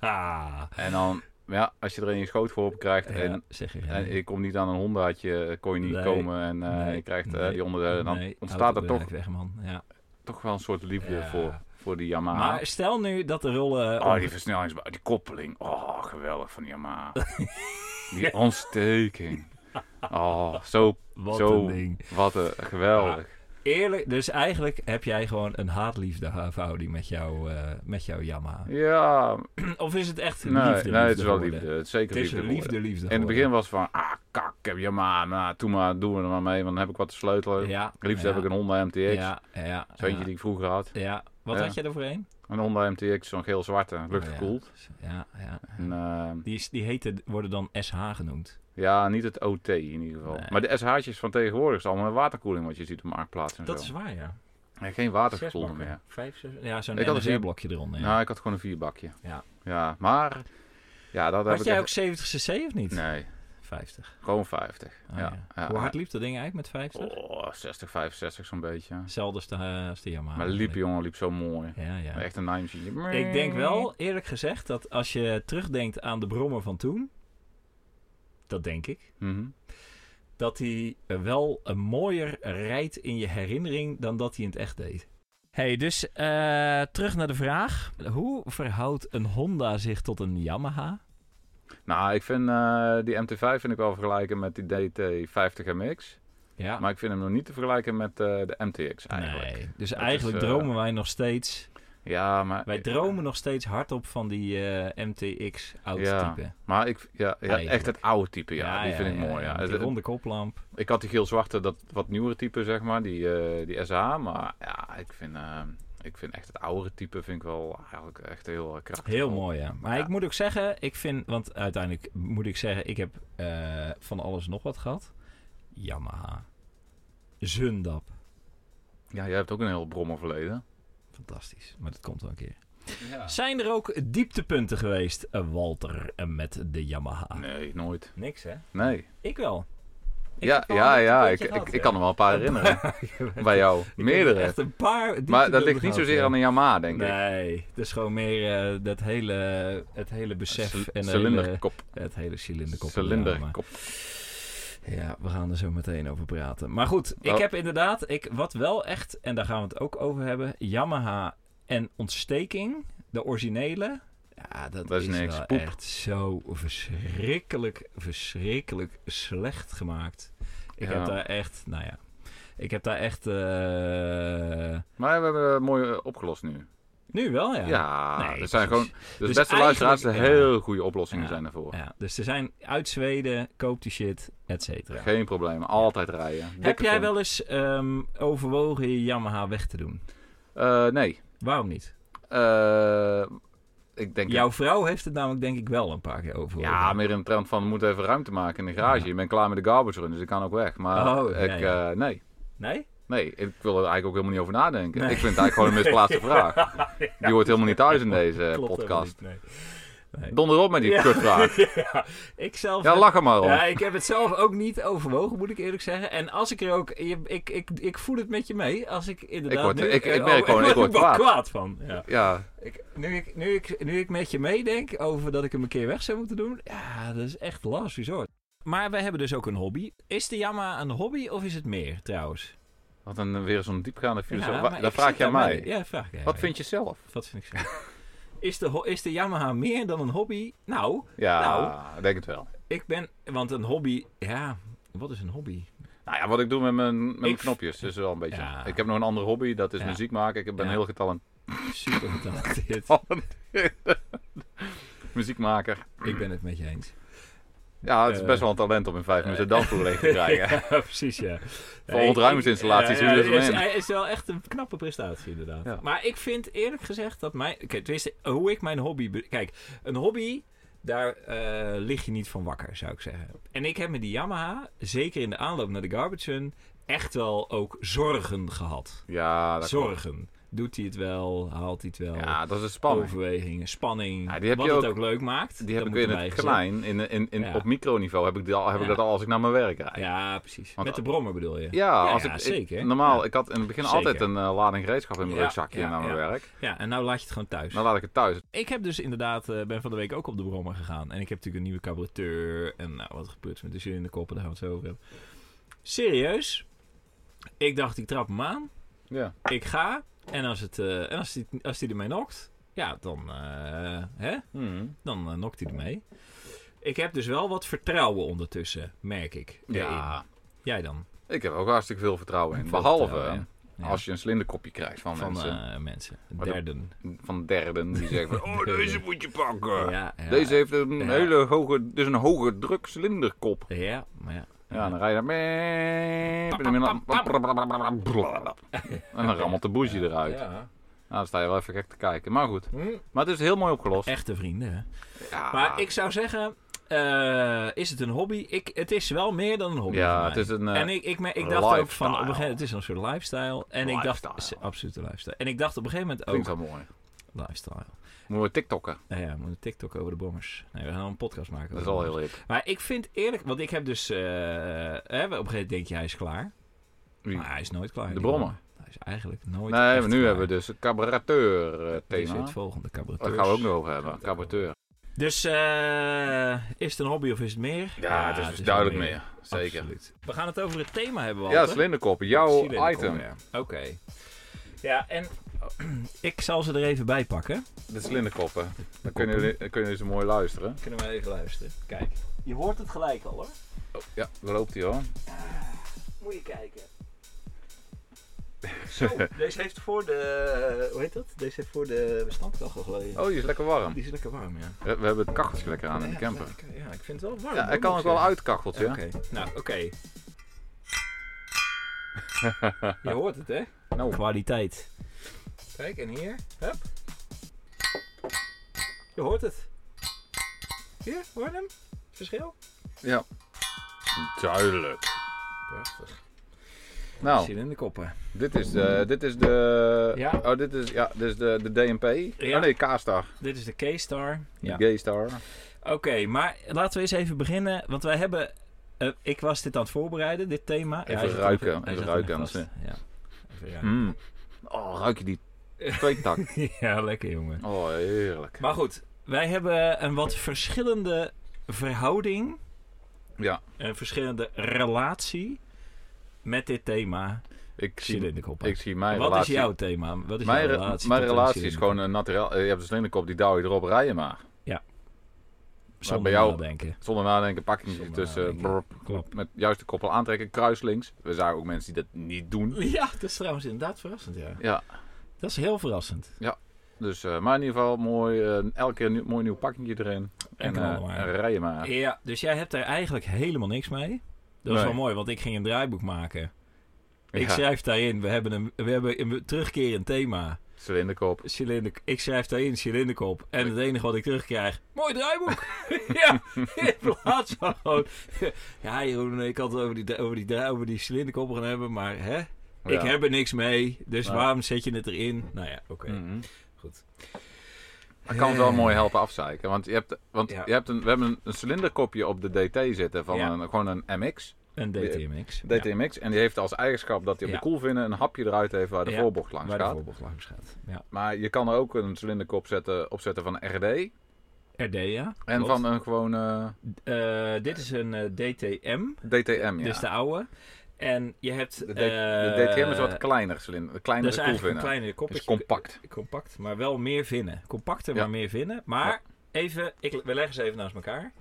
Speaker 1: Ah.
Speaker 2: en dan, ja, als je er een je schoot voor op krijgt en,
Speaker 1: Ja, zeg je.
Speaker 2: en je komt niet aan een Hondaatje, kon je niet
Speaker 1: Nee.
Speaker 2: komen en eh,
Speaker 1: Nee.
Speaker 2: je krijgt eh,
Speaker 1: Nee.
Speaker 2: die onderdelen, dan
Speaker 1: Nee,
Speaker 2: ontstaat er
Speaker 1: autobedrijf
Speaker 2: toch,
Speaker 1: Weg, man. Ja.
Speaker 2: toch wel een soort liefde
Speaker 1: Ja.
Speaker 2: voor, voor die Yamaha.
Speaker 1: Maar stel nu dat de rollen...
Speaker 2: oh, die versnellingsbaan, die koppeling, oh, geweldig van die Yamaha. die ontsteking. Oh, zo,
Speaker 1: Wat
Speaker 2: zo,
Speaker 1: een ding.
Speaker 2: wat een, geweldig.
Speaker 1: Eerlijk, dus eigenlijk heb jij gewoon een haatliefde verhouding met, jou, eh, met jouw Yamaha.
Speaker 2: Ja,
Speaker 1: Mm, Of is het echt liefde,
Speaker 2: nee, nee, het is wel
Speaker 1: geworden?
Speaker 2: liefde. Het is zeker
Speaker 1: Het is een
Speaker 2: liefde geworden.
Speaker 1: liefde, liefde
Speaker 2: In het begin
Speaker 1: geworden.
Speaker 2: was het van, ah kak, ik heb je maar, nou, doe maar, doen we er maar mee, want dan heb ik wat te sleutelen.
Speaker 1: Ja.
Speaker 2: Het liefst
Speaker 1: ja,
Speaker 2: heb ik een Honda MTX,
Speaker 1: Ja, ja.
Speaker 2: zo'n eentje
Speaker 1: ja.
Speaker 2: die ik vroeger had.
Speaker 1: Ja. Wat
Speaker 2: Ja.
Speaker 1: had jij er voor een?
Speaker 2: Een Honda MTX, zo'n geel-zwarte, luchtgekoeld.
Speaker 1: Oh, ja. ja, ja.
Speaker 2: En, eh,
Speaker 1: Die, is- die heten, worden dan SH genoemd.
Speaker 2: ja, niet het OT in ieder geval.
Speaker 1: Nee.
Speaker 2: Maar de SH'tjes van tegenwoordig is allemaal met waterkoeling wat je ziet op marktplaats en
Speaker 1: Dat
Speaker 2: zo.
Speaker 1: is waar, ja.
Speaker 2: En geen waterkoeling meer.
Speaker 1: Vijf, zes... Ja, zo'n
Speaker 2: Ik had een vier-
Speaker 1: NSR-blokje eronder. ja.
Speaker 2: Nou, ik had gewoon een vierbakje.
Speaker 1: Ja.
Speaker 2: Ja, maar, ja, dat heb
Speaker 1: had
Speaker 2: ik...
Speaker 1: jij
Speaker 2: echt-
Speaker 1: ook 70cc of niet?
Speaker 2: Nee,
Speaker 1: 50.
Speaker 2: gewoon 50.
Speaker 1: Oh,
Speaker 2: ja.
Speaker 1: ja.
Speaker 2: Ja.
Speaker 1: Hoe hard liep Ah, dat ding eigenlijk met 50?
Speaker 2: Oh, 60, 65 zo'n beetje.
Speaker 1: Hetzelfde als de, als de Yamaha.
Speaker 2: Maar liep,
Speaker 1: eigenlijk.
Speaker 2: jongen, liep zo mooi.
Speaker 1: Ja, ja.
Speaker 2: Echt een naimtje.
Speaker 1: Ik denk wel, eerlijk gezegd, dat als je terugdenkt aan de brommer van toen, dat denk ik,
Speaker 2: Mhm.
Speaker 1: dat hij eh, wel een mooier rijdt in je herinnering dan dat hij in het echt deed. hey, dus eh, terug naar de vraag. Hoe verhoudt een Honda zich tot een Yamaha?
Speaker 2: Nou, ik vind eh, die MT5 vind ik wel vergelijken met die DT50MX.
Speaker 1: Ja,
Speaker 2: Maar ik vind hem nog niet te vergelijken met eh, de MTX eigenlijk.
Speaker 1: nee. Dus
Speaker 2: Dat
Speaker 1: eigenlijk
Speaker 2: is, eh,
Speaker 1: dromen wij nog steeds,
Speaker 2: Ja, maar...
Speaker 1: wij dromen nog steeds hardop van die eh, MTX oud
Speaker 2: Ja.
Speaker 1: type.
Speaker 2: Maar ik, ja, ja,
Speaker 1: Eigenlijk.
Speaker 2: echt het oude type, ja. die vind ik mooi, ja.
Speaker 1: Die
Speaker 2: Het-
Speaker 1: ronde koplamp.
Speaker 2: Ik had die geel-zwarte, dat wat nieuwere type, zeg maar. Die, eh, die SH. Maar ja, ik vind, eh, ik vind echt het oudere type vind ik wel eigenlijk echt heel eh, krachtig.
Speaker 1: Heel mooi, ja. Maar
Speaker 2: Ja.
Speaker 1: ik moet ook zeggen, ik vind, want uiteindelijk moet ik zeggen, ik heb eh, van alles nog wat gehad. Yamaha. Zundap.
Speaker 2: Ja, jij hebt ook een heel brommerverleden.
Speaker 1: Fantastisch. Maar dat komt wel een keer.
Speaker 2: Ja.
Speaker 1: Zijn er ook dieptepunten geweest, eh, Walter, eh, met de Yamaha?
Speaker 2: Nee, nooit.
Speaker 1: Niks, hè?
Speaker 2: Nee.
Speaker 1: Ik wel. Ik
Speaker 2: ja,
Speaker 1: heb al
Speaker 2: ja,
Speaker 1: een
Speaker 2: ja. Ik,
Speaker 1: puntje gehad,
Speaker 2: ik,
Speaker 1: ja.
Speaker 2: ik kan er wel een paar herinneren. Bij jou.
Speaker 1: Ik
Speaker 2: Meerdere.
Speaker 1: heb Echt een paar.
Speaker 2: Maar dat ligt niet zozeer aan een Yamaha, denk ik.
Speaker 1: Nee, het is gewoon meer eh, dat hele, het hele besef
Speaker 2: Cil-
Speaker 1: en de hele-
Speaker 2: Cilinderkop.
Speaker 1: het hele cilinderkop. Ja,
Speaker 2: Cilinderkop.
Speaker 1: maar- Ja, we gaan er zo meteen over praten. Maar goed, ik
Speaker 2: Oh.
Speaker 1: heb inderdaad, ik, wat wel echt, en daar gaan we het ook over hebben, Yamaha en ontsteking, de originele. Ja, dat,
Speaker 2: Dat is
Speaker 1: is,
Speaker 2: niks.
Speaker 1: wel
Speaker 2: Poep.
Speaker 1: echt zo verschrikkelijk, verschrikkelijk slecht gemaakt. Ik
Speaker 2: Ja.
Speaker 1: heb daar echt, nou ja, ik heb daar echt, eh,
Speaker 2: Maar we hebben het mooi eh, opgelost nu.
Speaker 1: nu wel ja.
Speaker 2: Ja,
Speaker 1: Nee,
Speaker 2: er zijn
Speaker 1: precies.
Speaker 2: gewoon... Dus,
Speaker 1: Dus
Speaker 2: beste luisteraars, er
Speaker 1: eigenlijk- ja.
Speaker 2: heel goede oplossingen
Speaker 1: Ja.
Speaker 2: zijn daarvoor.
Speaker 1: Ja, dus er zijn uit Zweden, koop die shit, et cetera.
Speaker 2: Geen probleem, altijd rijden.
Speaker 1: Heb
Speaker 2: Dikke
Speaker 1: jij
Speaker 2: ton.
Speaker 1: wel eens ehm, overwogen je Yamaha weg te doen?
Speaker 2: Eh, nee.
Speaker 1: Waarom niet?
Speaker 2: Eh, ik denk...
Speaker 1: Jouw vrouw heeft het namelijk denk ik wel een paar keer overwogen.
Speaker 2: Ja, meer in de trend van, we moeten even ruimte maken in de garage.
Speaker 1: Ja.
Speaker 2: Ik ben klaar met de garbage run, dus ik kan ook weg. Maar
Speaker 1: Oh, ja,
Speaker 2: ik,
Speaker 1: ja.
Speaker 2: eh, nee.
Speaker 1: Nee?
Speaker 2: Nee, ik wil er eigenlijk ook helemaal niet over nadenken.
Speaker 1: Nee.
Speaker 2: Ik vind het eigenlijk gewoon een misplaatste vraag. Die hoort helemaal niet thuis in deze
Speaker 1: Klopt helemaal
Speaker 2: podcast.
Speaker 1: niet, nee. Nee.
Speaker 2: Donder op met die
Speaker 1: Ja.
Speaker 2: kutvraag.
Speaker 1: Ja, ik zelf...
Speaker 2: Ja, lach er maar om.
Speaker 1: Ja, ik heb het zelf ook niet overwogen, moet ik eerlijk zeggen. En als ik er ook... je- ik, ik, ik voel het met je mee. Als ik inderdaad
Speaker 2: Ik word-
Speaker 1: nu-
Speaker 2: ik- ik
Speaker 1: eh,
Speaker 2: merk gewoon, ik
Speaker 1: word
Speaker 2: word
Speaker 1: wel
Speaker 2: kwaad.
Speaker 1: van. Ja.
Speaker 2: Ja,
Speaker 1: Ik, nu, ik, nu, ik, nu ik met je meedenk over dat ik hem een keer weg zou moeten doen, ja, dat is echt last resort. Maar wij hebben dus ook een hobby. Is de Yamaha een hobby of is het meer trouwens?
Speaker 2: wat een weer zo'n diepgaande filosoof.
Speaker 1: Ja,
Speaker 2: Wa-
Speaker 1: maar
Speaker 2: dat
Speaker 1: ik
Speaker 2: vraag
Speaker 1: zit
Speaker 2: jij
Speaker 1: daar
Speaker 2: mij.
Speaker 1: mee. Ja, vraag jij
Speaker 2: Wat
Speaker 1: mij.
Speaker 2: vind je zelf?
Speaker 1: Wat vind ik zo? is, de, ho- is de Yamaha meer dan een hobby? Nou,
Speaker 2: Ja,
Speaker 1: Nou.
Speaker 2: ik denk het wel.
Speaker 1: ik ben... Want een hobby... Ja, wat is een hobby?
Speaker 2: Nou ja, wat ik doe met mijn, met mijn
Speaker 1: Ik-
Speaker 2: knopjes is wel een beetje.
Speaker 1: Ja.
Speaker 2: Ik heb nog een andere hobby, dat is
Speaker 1: Ja.
Speaker 2: muziek maken. Ik ben
Speaker 1: Ja.
Speaker 2: heel getalenteerd.
Speaker 1: Super getalenteerd.
Speaker 2: Oh. Muziekmaker.
Speaker 1: ik ben het met je eens.
Speaker 2: Ja, het is
Speaker 1: Eh.
Speaker 2: best wel een talent om in vijf minuten dansvloer leeg te krijgen.
Speaker 1: ja, precies, ja.
Speaker 2: Voor ontruimingsinstallaties,
Speaker 1: Ja, ja,
Speaker 2: hoe zit het
Speaker 1: is,
Speaker 2: erin?
Speaker 1: hij is wel echt een knappe prestatie, inderdaad.
Speaker 2: Ja.
Speaker 1: Maar ik vind eerlijk gezegd dat mijn... Kijk, tenminste, hoe ik mijn hobby... be- Kijk, een hobby, daar eh, lig je niet van wakker, zou ik zeggen. En ik heb met die Yamaha, zeker in de aanloop naar de Garbage Run... echt wel ook zorgen gehad.
Speaker 2: Ja, dat klopt.
Speaker 1: Zorgen. Doet hij het wel? Haalt hij het wel?
Speaker 2: Ja, dat is een spanning.
Speaker 1: Overwegingen, spanning.
Speaker 2: Ja, die heb
Speaker 1: wat
Speaker 2: je
Speaker 1: het
Speaker 2: ook-
Speaker 1: ook leuk maakt.
Speaker 2: Die heb
Speaker 1: Oh, dat
Speaker 2: ik
Speaker 1: moet
Speaker 2: in
Speaker 1: erbij
Speaker 2: het
Speaker 1: gezegd.
Speaker 2: klein, in, in, in,
Speaker 1: Ja.
Speaker 2: op microniveau heb ik, die al, heb ik
Speaker 1: Ja.
Speaker 2: dat al als ik naar mijn werk rijd. Ja,
Speaker 1: Ja, precies.
Speaker 2: Want-
Speaker 1: Met de brommer bedoel je?
Speaker 2: als
Speaker 1: ja,
Speaker 2: ik, ik-
Speaker 1: zeker.
Speaker 2: normaal,
Speaker 1: Ja.
Speaker 2: ik had in het begin
Speaker 1: Zeker.
Speaker 2: altijd een eh, lading gereedschap in mijn
Speaker 1: Ja,
Speaker 2: rugzakje
Speaker 1: ja,
Speaker 2: naar mijn
Speaker 1: ja.
Speaker 2: werk.
Speaker 1: Ja, en nou laat je het gewoon thuis.
Speaker 2: Dan laat ik het thuis.
Speaker 1: Ik heb dus inderdaad, eh, ben van de week ook op de brommer gegaan. En ik heb natuurlijk een nieuwe carburateur. En nou, wat gebeurt met de zin in de koppen, daar gaan we het zo over hebben. Serieus, ik dacht, ik trap hem aan.
Speaker 2: Ja.
Speaker 1: Ik ga. En als, het, eh, en als, die, als die ermee nokt, ja, dan, eh, hè?
Speaker 2: Hmm.
Speaker 1: dan eh, nokt hij ermee. Ik heb dus wel wat vertrouwen ondertussen, merk ik.
Speaker 2: ja.
Speaker 1: erin. Jij dan?
Speaker 2: Ik heb ook hartstikke veel vertrouwen in.
Speaker 1: Veel
Speaker 2: Behalve
Speaker 1: vertrouwen, ja. Ja.
Speaker 2: als je een slinderkopje krijgt van,
Speaker 1: Van
Speaker 2: mensen.
Speaker 1: eh, mensen.
Speaker 2: Maar dat-
Speaker 1: Derden.
Speaker 2: Van derden die zeggen van, oh deze moet je pakken.
Speaker 1: Ja, ja.
Speaker 2: Deze heeft een
Speaker 1: Ja.
Speaker 2: hele hoge, dus een hoge druk cilinderkop.
Speaker 1: Ja, maar ja.
Speaker 2: Ja, dan rij je dat mee. En dan rammelt de bougie eruit. Nou,
Speaker 1: Ja. Hm.
Speaker 2: dan sta je wel even gek te kijken. Maar goed. Maar het is heel mooi opgelost.
Speaker 1: Echte vrienden, hè?
Speaker 2: Ja,
Speaker 1: Maar ik zou zeggen, eh, is het een hobby? Ik, het is wel meer dan een hobby. voor
Speaker 2: ja
Speaker 1: mij.
Speaker 2: het is een... eh,
Speaker 1: en ik, ik, me- ik dacht
Speaker 2: lifestyle.
Speaker 1: ook van, op een gegeven moment, het is een soort lifestyle. En ik dacht,
Speaker 2: Lifestyle.
Speaker 1: is absoluut een lifestyle. En ik dacht op een gegeven moment ook,
Speaker 2: Klinkt wel mooi.
Speaker 1: lifestyle.
Speaker 2: Moeten we TikTokken.
Speaker 1: Nou ja, we moeten TikTok over de bommers. Nee, we gaan een podcast maken.
Speaker 2: Dat is
Speaker 1: over
Speaker 2: al
Speaker 1: de bommers.
Speaker 2: heel hip.
Speaker 1: Maar ik vind eerlijk, want ik heb dus, eh, hè, op een gegeven moment denk je, hij is klaar.
Speaker 2: Wie?
Speaker 1: Maar hij is nooit klaar.
Speaker 2: De
Speaker 1: die
Speaker 2: brommer.
Speaker 1: Hij is eigenlijk nooit
Speaker 2: Nee,
Speaker 1: echt
Speaker 2: maar nu
Speaker 1: klaar.
Speaker 2: hebben we dus een cabaretteur eh,
Speaker 1: Dit is
Speaker 2: thema.
Speaker 1: het volgende cabaret.
Speaker 2: Daar gaan we ook nog over hebben. Cabaretteur.
Speaker 1: Dus eh, is het een hobby of is het meer?
Speaker 2: Ja, het is dus
Speaker 1: wel
Speaker 2: duidelijk meer. Zeker.
Speaker 1: Absoluut. We gaan het over het thema hebben, Walter.
Speaker 2: Ja, slinderkop. Jouw
Speaker 1: Cilinderkop,
Speaker 2: item.
Speaker 1: ja. Oké. Ja, en ik zal ze er even bij pakken.
Speaker 2: De slinderkoppen. Dan kunnen jullie, dan kunnen jullie ze mooi luisteren.
Speaker 1: Kunnen we even luisteren. Kijk. Je hoort het gelijk al hoor.
Speaker 2: Oh, ja, daar loopt hij hoor.
Speaker 1: Moet je kijken. Zo, deze heeft voor de... eh, Hoe heet dat? Deze heeft voor de bestandkachel gelegen.
Speaker 2: Oh, die is lekker warm.
Speaker 1: Die is lekker warm, ja.
Speaker 2: We, we hebben het kacheltje lekker aan in de
Speaker 1: Ja,
Speaker 2: camper.
Speaker 1: lekker. Ja, ik vind het wel warm.
Speaker 2: Ja,
Speaker 1: hoor,
Speaker 2: hij
Speaker 1: moet
Speaker 2: kan ook
Speaker 1: ik
Speaker 2: wel
Speaker 1: zeggen.
Speaker 2: uit kacheltje.
Speaker 1: Oké. Nou, oké. je hoort het, hè?
Speaker 2: Nou,
Speaker 1: Kwaliteit. Kijk, en hier. Hup. Je hoort het. Hier, hoor je hem? Verschil?
Speaker 2: ja. Duidelijk.
Speaker 1: Prachtig.
Speaker 2: Nou,
Speaker 1: in de koppen.
Speaker 2: dit is de... Dit is de
Speaker 1: Ja.
Speaker 2: Oh, dit is, ja, dit is de, de DMP.
Speaker 1: Ja.
Speaker 2: Oh nee, K-Star.
Speaker 1: Dit is de K-Star.
Speaker 2: De G-Star.
Speaker 1: Oké, maar laten we eens even beginnen. Want wij hebben eh, ik was dit aan het voorbereiden, dit thema.
Speaker 2: Even
Speaker 1: hij zat
Speaker 2: ruiken,
Speaker 1: hij
Speaker 2: even
Speaker 1: zat er nog
Speaker 2: ruiken,
Speaker 1: vast. Ja, even ruiken.
Speaker 2: Mm. Oh, ruik je die tweetak?
Speaker 1: ja, lekker jongen.
Speaker 2: Oh, heerlijk.
Speaker 1: Maar goed, wij hebben een wat verschillende verhouding,
Speaker 2: Ja,
Speaker 1: een verschillende relatie met dit thema.
Speaker 2: ik
Speaker 1: Zit
Speaker 2: zie,
Speaker 1: in de kop.
Speaker 2: ik zie mijn
Speaker 1: Wat
Speaker 2: relatie...
Speaker 1: is jouw thema? Wat is
Speaker 2: mijn
Speaker 1: jouw
Speaker 2: re-
Speaker 1: relatie?
Speaker 2: mijn
Speaker 1: tot
Speaker 2: relatie is
Speaker 1: Cilindrinkop?
Speaker 2: gewoon een naturel. eh, Je hebt een slinderkop, die douw je erop, rijden maar.
Speaker 1: Zonder
Speaker 2: bij jou-
Speaker 1: nadenken.
Speaker 2: Zonder nadenken, pakking
Speaker 1: Zonder
Speaker 2: ertussen.
Speaker 1: nadenken.
Speaker 2: brrp,
Speaker 1: Klopt.
Speaker 2: met juist de koppel aantrekken, kruislinks. We zagen ook mensen die dat niet doen.
Speaker 1: Ja, dat is trouwens inderdaad verrassend, ja.
Speaker 2: Ja,
Speaker 1: Dat is heel verrassend.
Speaker 2: dus, eh, maar in ieder geval mooi, eh, elke keer een nieuw- mooi nieuw pakkingje erin. En,
Speaker 1: knallen
Speaker 2: eh,
Speaker 1: maar.
Speaker 2: rijden maar.
Speaker 1: Ja, dus jij hebt daar eigenlijk helemaal niks mee. Dat is
Speaker 2: Nee.
Speaker 1: wel mooi, want ik ging een draaiboek maken. Ik
Speaker 2: Ja,
Speaker 1: schrijf daarin, we hebben een, we hebben een terugkerend thema.
Speaker 2: Cilinderkop.
Speaker 1: Cilinder, ik schrijf daarin cilinderkop. En het enige wat ik terugkrijg, mooi draaiboek. ja, in plaats van gewoon... Ja, Jeroen, ik had het over die, over die, dra- over die cilinderkop gaan hebben, maar hè? Ik
Speaker 2: Ja.
Speaker 1: heb er niks mee, dus
Speaker 2: Ja.
Speaker 1: waarom zet je het erin? Nou ja, oké.
Speaker 2: Mhm.
Speaker 1: Goed. Eh.
Speaker 2: Dat kan wel mooi helpen afzeiken. Want, je hebt, want
Speaker 1: Ja.
Speaker 2: je hebt een, we hebben een, een cilinderkopje op de DT zitten van
Speaker 1: Ja.
Speaker 2: een, gewoon een MX.
Speaker 1: Een DTMX. Ja,
Speaker 2: DTMX. En die heeft als eigenschap dat hij op
Speaker 1: Ja.
Speaker 2: de koelvinnen een hapje eruit heeft waar de
Speaker 1: Ja,
Speaker 2: voorbocht langs
Speaker 1: waar de
Speaker 2: gaat.
Speaker 1: voorbocht langs gaat. Ja.
Speaker 2: Maar je kan er ook een cilinderkop zetten, opzetten van een RD.
Speaker 1: RD, ja.
Speaker 2: En
Speaker 1: klopt.
Speaker 2: van een gewone
Speaker 1: Eh, dit is een eh, DTM,
Speaker 2: DTM, ja.
Speaker 1: dus de oude. En je hebt...
Speaker 2: De, D-
Speaker 1: eh,
Speaker 2: de DTM is wat kleiner cilinder. dus Een
Speaker 1: Dat
Speaker 2: kleinere
Speaker 1: is eigenlijk een
Speaker 2: koelvinnen.
Speaker 1: kleinere kopje.
Speaker 2: is compact.
Speaker 1: Compact, maar wel meer vinnen. Compacter,
Speaker 2: Ja.
Speaker 1: maar meer vinnen. Maar even, ik, we leggen ze even naast elkaar.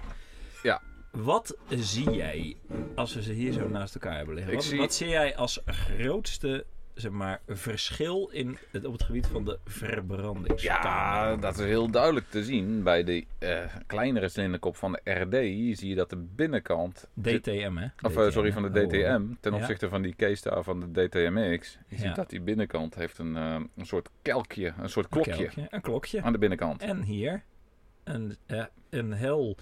Speaker 2: Ja.
Speaker 1: Wat zie jij als we ze hier zo naast elkaar hebben liggen?
Speaker 2: Ik
Speaker 1: Wat,
Speaker 2: zie-
Speaker 1: wat zie jij als grootste zeg maar, verschil in het, op het gebied van de verbranding?
Speaker 2: Ja, dat is heel duidelijk te zien. Bij de eh, kleinere cilinderkop van de RD zie je dat de binnenkant...
Speaker 1: DTM, hè?
Speaker 2: Of eh,
Speaker 1: DTM,
Speaker 2: sorry, van de
Speaker 1: hè? Oh,
Speaker 2: DTM. Ten
Speaker 1: Ja.
Speaker 2: opzichte van die keystar van de DTMX. Je
Speaker 1: Ja.
Speaker 2: ziet dat die binnenkant heeft een, eh, een soort kelkje, een soort
Speaker 1: Een
Speaker 2: klokje
Speaker 1: Een klokje.
Speaker 2: aan de binnenkant.
Speaker 1: En hier een, eh, een heel...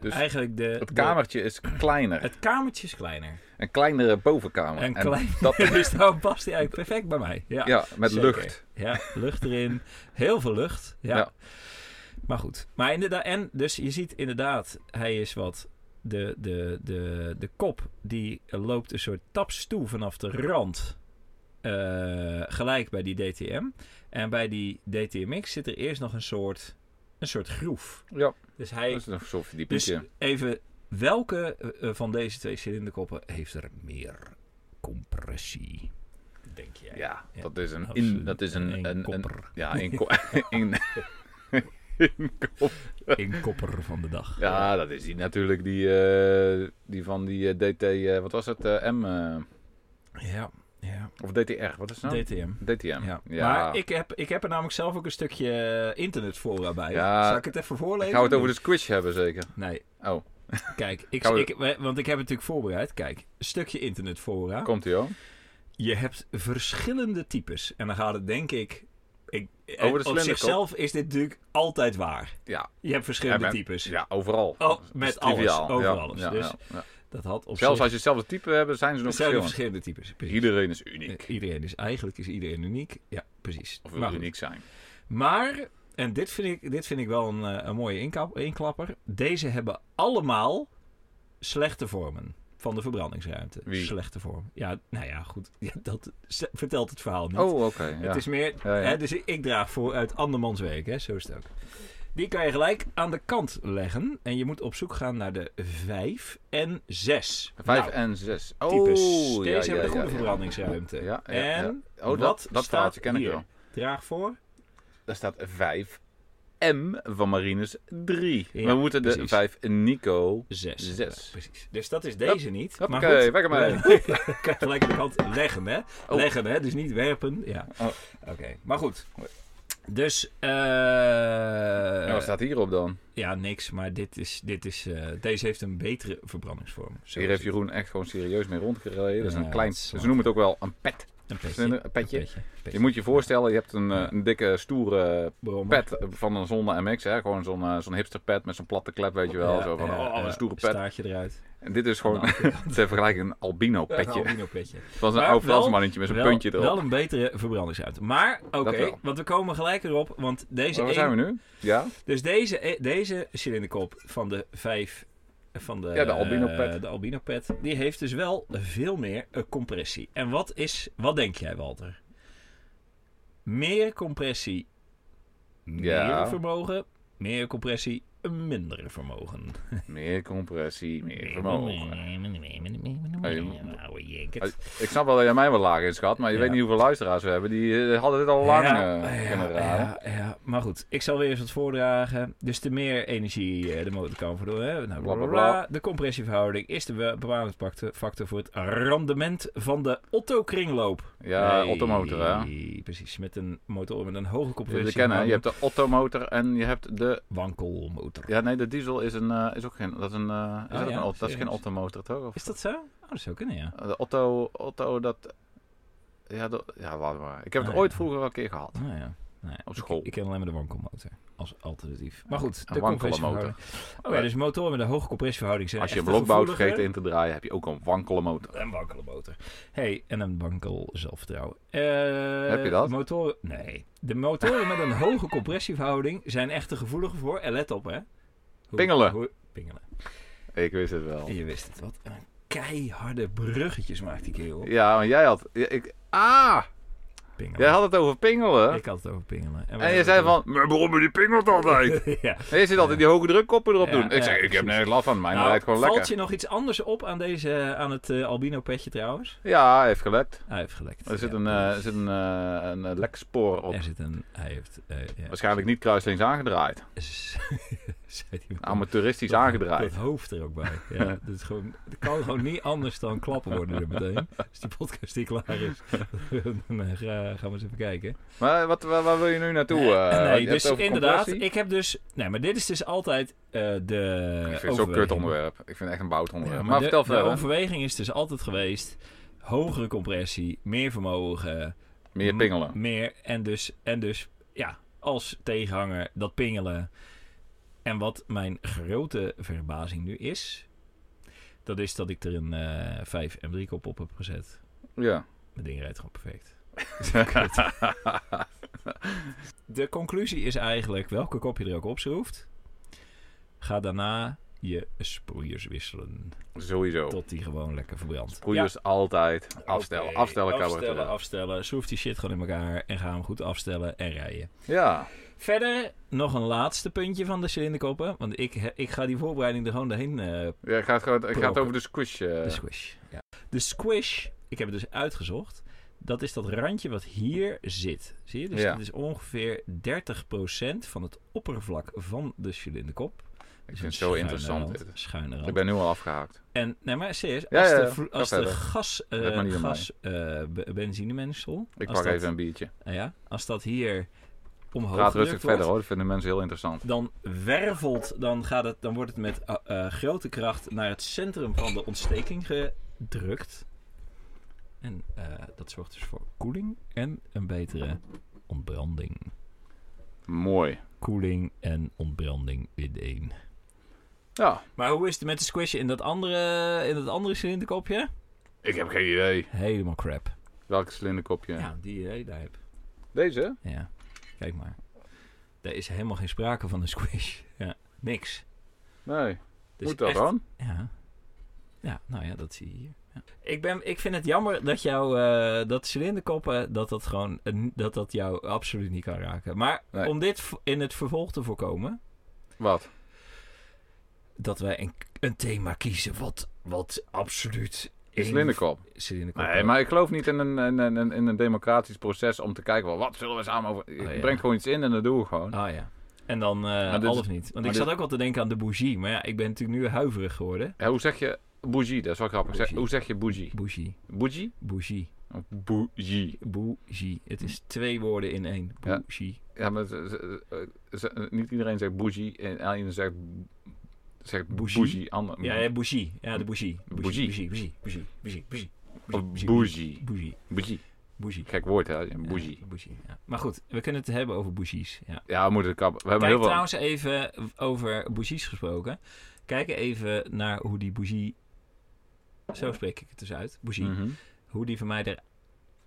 Speaker 2: Dus
Speaker 1: eigenlijk de...
Speaker 2: Het
Speaker 1: de-
Speaker 2: kamertje is kleiner.
Speaker 1: het kamertje is kleiner.
Speaker 2: Een kleinere bovenkamer.
Speaker 1: En
Speaker 2: En
Speaker 1: klein.
Speaker 2: dat-
Speaker 1: dus daarom past hij eigenlijk perfect bij mij. Ja,
Speaker 2: ja, met
Speaker 1: zeker.
Speaker 2: lucht.
Speaker 1: Ja, lucht erin. Heel veel lucht. Ja.
Speaker 2: Ja.
Speaker 1: Maar goed. Maar inderdaad, en dus je ziet inderdaad, hij is wat. De, de, de, de kop die loopt een soort taps toe vanaf de rand. eh, gelijk bij die DTM. En bij die DTMX zit er eerst nog een soort, een soort groef.
Speaker 2: Ja,
Speaker 1: Dus
Speaker 2: dat
Speaker 1: hij.
Speaker 2: is een soort
Speaker 1: Dus
Speaker 2: verdiepingje.
Speaker 1: even, welke eh, van deze twee cilinderkoppen heeft er meer compressie? Denk jij?
Speaker 2: Ja,
Speaker 1: Ja,
Speaker 2: dat is een...
Speaker 1: Absoluut.
Speaker 2: In, dat is een, een, een,
Speaker 1: kopper.
Speaker 2: ja, in, ko- in, in kop.
Speaker 1: Een kopper van de dag.
Speaker 2: Ja, dat is die natuurlijk die, eh, die van die eh, DT, eh, wat was het, eh, M, eh,
Speaker 1: Ja, ja.
Speaker 2: of DTR, wat is het nou?
Speaker 1: DTM.
Speaker 2: DTM.
Speaker 1: Ja.
Speaker 2: Ja,
Speaker 1: Maar ik heb, ik heb er namelijk zelf ook een stukje eh, internetfora bij.
Speaker 2: Ja.
Speaker 1: Zal ik het even voorlezen?
Speaker 2: Gaan we het over de squish hebben zeker?
Speaker 1: Nee,
Speaker 2: Oh,
Speaker 1: kijk. Ik,
Speaker 2: Gaan we-
Speaker 1: ik, want ik heb het natuurlijk voorbereid. Kijk, een stukje internetfora.
Speaker 2: komt ie hoor.
Speaker 1: Je hebt verschillende types. En dan gaat het denk ik... ik
Speaker 2: de
Speaker 1: op
Speaker 2: slenderkop.
Speaker 1: zichzelf is dit natuurlijk altijd waar.
Speaker 2: Ja,
Speaker 1: Je hebt verschillende
Speaker 2: Ja, maar-
Speaker 1: types.
Speaker 2: ja overal.
Speaker 1: Oh,
Speaker 2: Dat is
Speaker 1: met
Speaker 2: triviaal.
Speaker 1: alles, over
Speaker 2: Ja,
Speaker 1: alles.
Speaker 2: ja,
Speaker 1: Dus
Speaker 2: ja, ja.
Speaker 1: Dat had op
Speaker 2: Zelfs
Speaker 1: zich...
Speaker 2: als je hetzelfde type hebt, zijn ze nog
Speaker 1: Er zijn er
Speaker 2: verschillend.
Speaker 1: verschillende types. Precies.
Speaker 2: Iedereen is uniek.
Speaker 1: Eh, Iedereen is eigenlijk is iedereen uniek. Ja, precies.
Speaker 2: Of wil
Speaker 1: Maar goed.
Speaker 2: uniek zijn.
Speaker 1: Maar, en dit vind ik, dit vind ik wel een, eh, een mooie inkap- inklapper. Deze hebben allemaal slechte vormen van de verbrandingsruimte.
Speaker 2: Wie?
Speaker 1: Slechte vorm. Ja, nou ja, goed. Ja, dat ze- vertelt het verhaal niet.
Speaker 2: Oh, oké. ja.
Speaker 1: Het is meer...
Speaker 2: Ja, ja.
Speaker 1: Hè, dus ik, ik draag voor uit andermans werk, hè, zo is het ook. Die kan je gelijk aan de kant leggen. En je moet op zoek gaan naar de 5 en 6.
Speaker 2: Vijf en zes. Oh,
Speaker 1: nou, types.
Speaker 2: ja,
Speaker 1: Deze
Speaker 2: ja,
Speaker 1: hebben de
Speaker 2: ja,
Speaker 1: goede
Speaker 2: ja.
Speaker 1: verbrandingsruimte.
Speaker 2: Ja, ja, ja.
Speaker 1: en
Speaker 2: Oh,
Speaker 1: wat
Speaker 2: dat, dat
Speaker 1: staat
Speaker 2: verhaaltje ken ik
Speaker 1: hier?
Speaker 2: wel.
Speaker 1: draag voor...
Speaker 2: Daar staat 5 M van Marines 3.
Speaker 1: Ja,
Speaker 2: we moeten de
Speaker 1: precies.
Speaker 2: 5 Nico.
Speaker 1: Zes.
Speaker 2: Zes.
Speaker 1: Ja, precies. Dus dat is deze niet.
Speaker 2: Hoppakee, weg ermee.
Speaker 1: Ik kan gelijk aan de kant leggen, hè?
Speaker 2: Oh.
Speaker 1: Leggen, hè? Dus niet werpen. Ja.
Speaker 2: Oh.
Speaker 1: Oké, maar goed. Dus, eh
Speaker 2: En wat staat hierop dan?
Speaker 1: ja, niks. Maar dit is, dit is, eh, deze heeft een betere verbrandingsvorm. Zo
Speaker 2: Hier
Speaker 1: is
Speaker 2: heeft Jeroen echt gewoon serieus mee rondgereden. Dat is
Speaker 1: Ja,
Speaker 2: een klein,
Speaker 1: dat is
Speaker 2: ze
Speaker 1: waar.
Speaker 2: noemen het ook wel een pet.
Speaker 1: het. Een petje.
Speaker 2: Een petje.
Speaker 1: Een petje.
Speaker 2: Je moet je voorstellen, je hebt een, eh, een dikke stoere
Speaker 1: Brommer.
Speaker 2: pet van een Zonda MX. Hè? Gewoon zo'n eh, zo'n hipster pet met zo'n platte klep, weet je wel.
Speaker 1: Ja,
Speaker 2: zo van,
Speaker 1: ja,
Speaker 2: oh,
Speaker 1: ja.
Speaker 2: een stoere pet.
Speaker 1: Staartje eruit.
Speaker 2: En dit is gewoon,
Speaker 1: Nou,
Speaker 2: te vergelijken, een albino petje.
Speaker 1: Een albino-petje.
Speaker 2: Het was een
Speaker 1: Maar
Speaker 2: oud
Speaker 1: wel-
Speaker 2: Fransmannetje met zo'n
Speaker 1: Wel,
Speaker 2: puntje erop.
Speaker 1: wel een betere verbrandingsruimte. Maar, oké,
Speaker 2: Dat wel.
Speaker 1: want we komen gelijk erop. Want deze
Speaker 2: Maar waar
Speaker 1: één-
Speaker 2: zijn we nu? Ja?
Speaker 1: Dus deze, deze cilinderkop van de 5, eh, Van de,
Speaker 2: Ja, de albino
Speaker 1: eh,
Speaker 2: pet.
Speaker 1: de albino pet. Die heeft dus wel veel meer eh, compressie. En wat is, wat denk jij, Walter? Meer compressie, meer
Speaker 2: Ja.
Speaker 1: vermogen. Meer compressie, minder vermogen.
Speaker 2: Meer compressie, meer vermogen. Oh, je-
Speaker 1: Nou, jekkerd.
Speaker 2: Ik snap wel dat jij mij wel laag inschat, maar je
Speaker 1: Ja.
Speaker 2: weet niet hoeveel luisteraars we hebben. Die eh, hadden dit al lang eh, kunnen raden.
Speaker 1: Ah, ja, ja. maar goed. Ik zal weer eens wat voordragen. Dus de meer energie eh, de motor kan verdoen. Hè? Nou, bla, bla,
Speaker 2: Bla, bla,
Speaker 1: bla.
Speaker 2: bla.
Speaker 1: De compressieverhouding is de be- bepalende factor voor het rendement van de Otto-kringloop.
Speaker 2: Ja,
Speaker 1: Nee,
Speaker 2: Ottomotor, hè.
Speaker 1: Precies, met een motor met een hoge
Speaker 2: Je
Speaker 1: compressie.
Speaker 2: moet kennen, je hebt de Ottomotor en je hebt de...
Speaker 1: wankelmotor.
Speaker 2: Ja, nee, de diesel is, een, eh, is ook geen... Dat is, een, eh,
Speaker 1: Ah,
Speaker 2: is dat ook
Speaker 1: ja,
Speaker 2: een Otto? Dat is geen
Speaker 1: serieus.
Speaker 2: Ottomotor, toch? Of,
Speaker 1: Is dat zo? Oh, dat zou kunnen, ja.
Speaker 2: de Otto, Otto, dat... Ja, dat, ja, laat maar. Ik heb het
Speaker 1: Ah, ja.
Speaker 2: ooit vroeger wel een keer gehad.
Speaker 1: Nou ja. Nou ja,
Speaker 2: Op
Speaker 1: ik-
Speaker 2: school.
Speaker 1: Ik, ken alleen maar de wankelmotor als alternatief. Maar goed,
Speaker 2: Een
Speaker 1: de
Speaker 2: wankele
Speaker 1: compressieverhouding. Oh ja, dus motoren met een hoge compressieverhouding zijn
Speaker 2: Als je een
Speaker 1: eh, echt
Speaker 2: blok bouwt
Speaker 1: gevoeliger.
Speaker 2: vergeten in te draaien, heb je ook een wankele motor.
Speaker 1: Een wankele motor. hey, en een wankel zelfvertrouwen. Eh,
Speaker 2: Heb je dat?
Speaker 1: de Motoren... Nee. De motoren met een hoge compressieverhouding zijn echt te gevoelig voor. En let op, hè. Hoe-
Speaker 2: Pingelen.
Speaker 1: hoe- pingelen.
Speaker 2: Ik wist het wel.
Speaker 1: En je wist het. Wat een keiharde bruggetjes maakt die kerel.
Speaker 2: Ja, maar jij had... ja, ik, ah!
Speaker 1: Pingelen.
Speaker 2: Jij had het over pingelen.
Speaker 1: Ik had het over pingelen.
Speaker 2: en je zei van... Mijn brommer die pingelt altijd.
Speaker 1: ja.
Speaker 2: En je zit altijd die hoge drukkoppen erop
Speaker 1: Ja,
Speaker 2: doen. Ik
Speaker 1: ja,
Speaker 2: zeg, ik heb
Speaker 1: precies.
Speaker 2: nergens last van. Mijn
Speaker 1: Nou,
Speaker 2: rijdt gewoon
Speaker 1: valt
Speaker 2: lekker.
Speaker 1: je nog iets anders op aan, deze, aan het eh, albino petje trouwens?
Speaker 2: Ja, hij heeft gelekt.
Speaker 1: Hij heeft gelekt.
Speaker 2: Er zit
Speaker 1: Ja,
Speaker 2: een, eh, er zit een, eh, een eh, lekspoor op.
Speaker 1: Er zit een... Hij heeft... eh, ja.
Speaker 2: Waarschijnlijk niet kruislinks aangedraaid.
Speaker 1: Zei die man.
Speaker 2: Amateuristisch
Speaker 1: Dat-
Speaker 2: aangedraaid.
Speaker 1: Dat hoofd er ook bij. Ja, dat, is gewoon, dat kan gewoon niet anders dan klappen worden er meteen. Als die podcast die klaar is, dan eh, ga- gaan we eens even kijken.
Speaker 2: Maar wat, waar, waar wil je nu naartoe? eh?
Speaker 1: Eh,
Speaker 2: Want je
Speaker 1: nee,
Speaker 2: hebt
Speaker 1: dus
Speaker 2: het over
Speaker 1: inderdaad,
Speaker 2: compressie.
Speaker 1: ik heb dus... Nee, maar dit is dus altijd eh, de
Speaker 2: ik vind het zo'n kut
Speaker 1: overweging.
Speaker 2: onderwerp. Ik vind het echt een bout
Speaker 1: eh, Ja,
Speaker 2: onderwerp.
Speaker 1: maar
Speaker 2: maar
Speaker 1: de,
Speaker 2: vertel
Speaker 1: de
Speaker 2: verder.
Speaker 1: overweging is dus altijd geweest... Hogere compressie, meer vermogen...
Speaker 2: Meer
Speaker 1: m-
Speaker 2: pingelen.
Speaker 1: Meer, en dus, en dus ja, als tegenhanger dat pingelen. En wat mijn grote verbazing nu is, dat is dat ik er een eh 5 M3 kop op heb gezet.
Speaker 2: Ja.
Speaker 1: Mijn ding rijdt gewoon perfect. De conclusie is eigenlijk, welke kop je er ook opschroeft, ga daarna je sproeiers wisselen.
Speaker 2: Sowieso.
Speaker 1: Tot die gewoon lekker verbrandt.
Speaker 2: Broeiers altijd. Oh. Afstellen.
Speaker 1: Oké,
Speaker 2: Afstellen,
Speaker 1: Afstellen,
Speaker 2: cabaret.
Speaker 1: afstellen. Schroef die shit gewoon in elkaar en ga hem goed afstellen en rijden.
Speaker 2: Ja.
Speaker 1: Verder nog een laatste puntje van de cilinderkoppen. Want ik, he- ik ga die voorbereiding er gewoon doorheen. eh
Speaker 2: ja ik, ga het, gewoon- ik ga het
Speaker 1: Proppen.
Speaker 2: over de squish. eh.
Speaker 1: de squish. Ja. De squish, ik heb het dus uitgezocht. Dat is dat randje wat hier zit. Zie je? Dus
Speaker 2: Ja.
Speaker 1: dat is ongeveer 30% van het oppervlak van de cilinderkop.
Speaker 2: ik vind het zo interessant. dit.
Speaker 1: Schuine rand.
Speaker 2: Ik ben nu al afgehaakt.
Speaker 1: En, nee, maar serieus.
Speaker 2: Ja,
Speaker 1: als
Speaker 2: ja,
Speaker 1: de,
Speaker 2: ja.
Speaker 1: vlo-
Speaker 2: Ga
Speaker 1: als de
Speaker 2: verder.
Speaker 1: gas,
Speaker 2: Let maar
Speaker 1: eh
Speaker 2: niet op
Speaker 1: gas eh, be- benzinemengsel...
Speaker 2: Ik
Speaker 1: als
Speaker 2: pak
Speaker 1: dat-
Speaker 2: even een biertje.
Speaker 1: nou ja, als dat hier omhoog
Speaker 2: Praat
Speaker 1: gedrukt
Speaker 2: rustig
Speaker 1: wordt,
Speaker 2: verder hoor. Dat vinden mensen heel interessant.
Speaker 1: dan wervelt, dan, gaat het, dan wordt het met eh, eh, grote kracht naar het centrum van de ontsteking gedrukt. En eh, dat zorgt dus voor koeling en een betere ontbranding.
Speaker 2: Mooi.
Speaker 1: Koeling en ontbranding in één.
Speaker 2: Ja.
Speaker 1: Maar hoe is het met de squishy in dat andere, in dat andere cilinderkopje?
Speaker 2: Ik heb geen idee.
Speaker 1: Helemaal crap.
Speaker 2: Welke cilinderkopje?
Speaker 1: Ja, die idee daar heb.
Speaker 2: Deze?
Speaker 1: Ja, kijk maar. Daar is helemaal geen sprake van een squish. Ja, niks.
Speaker 2: Nee.
Speaker 1: Dus
Speaker 2: Moet dat
Speaker 1: echt-
Speaker 2: dan?
Speaker 1: Ja. Ja, nou ja, dat zie je hier. Ja. Ik, ben, ik vind het jammer dat jouw eh dat cilinderkoppen, dat dat gewoon, een- dat dat jou absoluut niet kan raken. Maar
Speaker 2: Nee.
Speaker 1: om dit v- in het vervolg te voorkomen,
Speaker 2: Wat?
Speaker 1: dat wij een, een thema kiezen wat, wat absoluut...
Speaker 2: Een cilinderkop.
Speaker 1: Cilinderkoppen.
Speaker 2: Nee, maar ik geloof niet in een, in, een, in een democratisch proces om te kijken, wel, wat zullen we samen over... Je
Speaker 1: Oh, ja.
Speaker 2: brengt gewoon iets in en dat doen we gewoon.
Speaker 1: Ah ja. En dan eh
Speaker 2: dit
Speaker 1: al
Speaker 2: is-
Speaker 1: of niet. Want
Speaker 2: maar
Speaker 1: ik zat
Speaker 2: dit-
Speaker 1: ook wel te denken aan de bougie. Maar ja, ik ben natuurlijk nu huiverig geworden.
Speaker 2: Ja, hoe zeg je bougie? Dat is wel grappig. Zeg-
Speaker 1: Bougie.
Speaker 2: hoe zeg je bougie?
Speaker 1: Bougie.
Speaker 2: Bougie?
Speaker 1: Bougie.
Speaker 2: Of Bougie.
Speaker 1: Bougie. Het is twee woorden in één.
Speaker 2: Hm. Ja.
Speaker 1: Bougie.
Speaker 2: Ja, maar ze- ze- eh, ze- ze- niet iedereen zegt bougie en iedereen zegt, zegt
Speaker 1: Bougie?
Speaker 2: bougie. ander,
Speaker 1: Ja, ja, bougie. Ja, de bougie.
Speaker 2: Mm. Bougie.
Speaker 1: Bougie, bougie, bougie, bougie, bougie.
Speaker 2: Of
Speaker 1: bougie,
Speaker 2: bougie.
Speaker 1: Bougie,
Speaker 2: Bougie.
Speaker 1: bougie.
Speaker 2: Gek woord, hè? Bougie.
Speaker 1: Ja, bougie ja. Maar goed, we kunnen het hebben over bougies. Ja.
Speaker 2: Ja, we moeten kappen. We hebben
Speaker 1: Kijk
Speaker 2: heel veel...
Speaker 1: trouwens even over bougies gesproken. Kijk even naar hoe die bougie... Zo spreek ik het dus uit. Bougie.
Speaker 2: Mhm.
Speaker 1: Hoe die van mij er...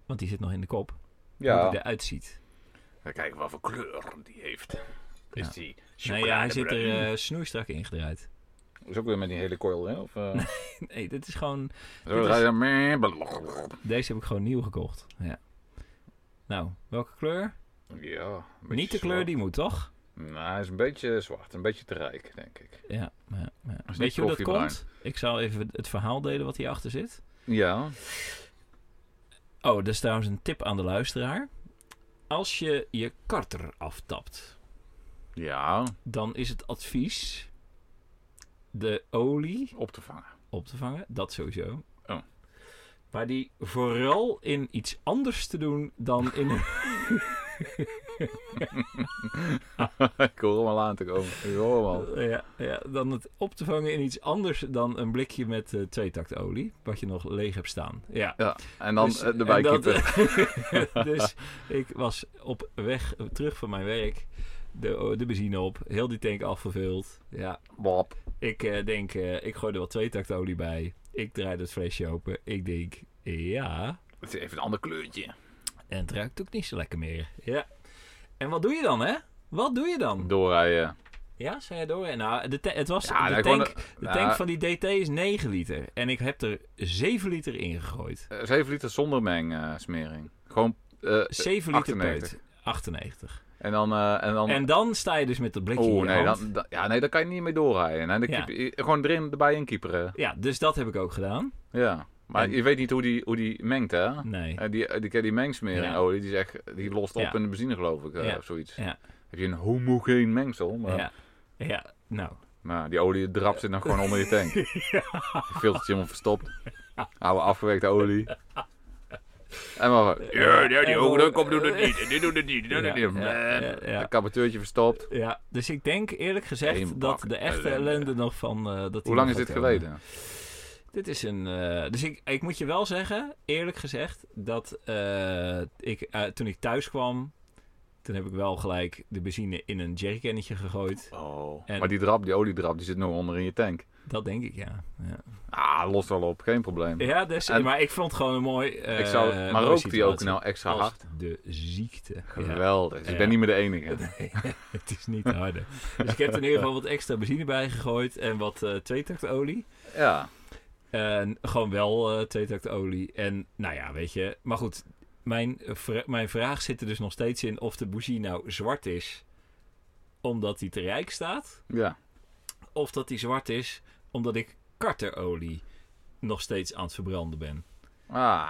Speaker 1: Want die zit nog in de kop. Hoe die
Speaker 2: Ja.
Speaker 1: eruit ziet.
Speaker 2: We kijken wat voor kleur die heeft. Is
Speaker 1: Ja.
Speaker 2: die
Speaker 1: Nou ja, hij zit er
Speaker 2: chocoladebruin?
Speaker 1: eh snoeistrak ingedraaid.
Speaker 2: Is ook weer met die hele coil, hè? Of, eh,
Speaker 1: Nee, dit is gewoon...
Speaker 2: zo
Speaker 1: is-
Speaker 2: rijden, meh, blablabla.
Speaker 1: Deze heb ik gewoon nieuw gekocht. Ja. Nou, welke kleur?
Speaker 2: Ja, een beetje
Speaker 1: Niet de kleur
Speaker 2: zwart.
Speaker 1: die moet, toch?
Speaker 2: Nou, hij is een beetje zwart. Een beetje te rijk, denk ik.
Speaker 1: Ja. ja, ja.
Speaker 2: niet
Speaker 1: Weet je hoe dat
Speaker 2: koffiebruin.
Speaker 1: komt? Ik zal even het verhaal delen wat hierachter zit.
Speaker 2: Ja.
Speaker 1: Oh, dat is trouwens een tip aan de luisteraar. Als je je karter aftapt,
Speaker 2: Ja,
Speaker 1: dan is het advies de olie
Speaker 2: op te vangen.
Speaker 1: op te vangen. Dat sowieso.
Speaker 2: Oh.
Speaker 1: Maar die vooral in iets anders te doen dan in een...
Speaker 2: ik hoor hem al aan te komen. Ik hoor hem al.
Speaker 1: ja, ja, dan het op te vangen in iets anders dan een blikje met eh tweetakt olie. Wat je nog leeg hebt staan. Ja.
Speaker 2: Ja, en dan
Speaker 1: Dus-
Speaker 2: eh, de
Speaker 1: en
Speaker 2: bijkeeper.
Speaker 1: dat- dus ik was op weg eh, terug van mijn werk. De, de benzine op, heel die tank afgevuld. Ja,
Speaker 2: Bob.
Speaker 1: ik eh, denk, eh, ik gooi er wel twee takt olie bij. Ik draai dat flesje open. Ik denk, ja.
Speaker 2: Het is even een ander kleurtje.
Speaker 1: En het ruikt ook niet zo lekker meer. Ja. En wat doe je dan, hè? Wat doe je dan?
Speaker 2: Doorrijden.
Speaker 1: Ja, zei je door. Nou, de ta- het was
Speaker 2: Ja,
Speaker 1: de,
Speaker 2: nee, gewoon
Speaker 1: tank, de
Speaker 2: nou,
Speaker 1: tank van die DT is 9 liter. En ik heb er 7 liter in gegooid.
Speaker 2: eh, 7 liter zonder mengsmering. Gewoon. eh,
Speaker 1: 7 liter
Speaker 2: 98.
Speaker 1: peut. 98.
Speaker 2: en dan. eh, en dan
Speaker 1: En dan sta je dus met dat blikje in
Speaker 2: oh
Speaker 1: je
Speaker 2: nee,
Speaker 1: hand.
Speaker 2: dan, dan- ja, nee, daar kan je niet mee doorrijden. Nee, dan
Speaker 1: Ja.
Speaker 2: keep- eh, gewoon erin, erbij in kieperen.
Speaker 1: Ja, dus dat heb ik ook gedaan.
Speaker 2: Ja. Maar
Speaker 1: En-
Speaker 2: je weet niet hoe die, hoe die mengt, hè?
Speaker 1: Nee.
Speaker 2: Eh, Die, die, die, die mengsmering,
Speaker 1: Ja.
Speaker 2: olie, die, is echt, die lost op
Speaker 1: Ja.
Speaker 2: in de benzine, geloof ik, eh,
Speaker 1: Ja.
Speaker 2: of zoiets.
Speaker 1: Ja.
Speaker 2: Heb je een homogeen mengsel, maar,
Speaker 1: Ja. ja, nou.
Speaker 2: maar die olie drapt zit dan gewoon onder je tank. Je filtertje helemaal verstopt. Oude afgewerkte olie. En maar ja, ja, die
Speaker 1: En
Speaker 2: ogen,
Speaker 1: gewoon-
Speaker 2: dat komt doet het niet, en dit doet het niet, dit doet het
Speaker 1: Ja,
Speaker 2: niet.
Speaker 1: ja, ja, ja.
Speaker 2: Een kaboutertje verstopt.
Speaker 1: Ja, dus ik denk eerlijk gezegd
Speaker 2: Geen
Speaker 1: dat
Speaker 2: bak
Speaker 1: de echte
Speaker 2: ellende.
Speaker 1: ellende nog van... eh, dat die
Speaker 2: Hoe lang is
Speaker 1: nog
Speaker 2: dit
Speaker 1: gaat komen.
Speaker 2: geleden?
Speaker 1: Dit is een... eh, dus ik, ik moet je wel zeggen, eerlijk gezegd, dat eh, ik, eh, toen ik thuis kwam... Toen heb ik wel gelijk de benzine in een jerrycannetje gegooid.
Speaker 2: Oh.
Speaker 1: En-
Speaker 2: Maar die drap, die oliedrap, die zit nog onder in je tank.
Speaker 1: Dat denk ik, ja. Ja,
Speaker 2: Ah, lost wel op, geen probleem.
Speaker 1: ja dus,
Speaker 2: En-
Speaker 1: maar ik vond het gewoon een mooi... eh,
Speaker 2: Ik zou, maar
Speaker 1: mooie
Speaker 2: rookt die ook
Speaker 1: situatie.
Speaker 2: nou extra
Speaker 1: Als
Speaker 2: hard?
Speaker 1: de ziekte. Ja.
Speaker 2: Geweldig. Dus ik
Speaker 1: Ja.
Speaker 2: ben niet meer de enige.
Speaker 1: Het is niet harder. Dus ik heb er in ieder geval wat extra benzine bij gegooid en wat eh tweetaktolie.
Speaker 2: Ja.
Speaker 1: En gewoon wel eh tweetaktolie. En nou ja, weet je. Maar goed, mijn, vra- mijn vraag zit er dus nog steeds in of de bougie nou zwart is omdat hij te rijk staat.
Speaker 2: Ja.
Speaker 1: Of dat hij zwart is omdat ik karterolie nog steeds aan het verbranden ben.
Speaker 2: Ah.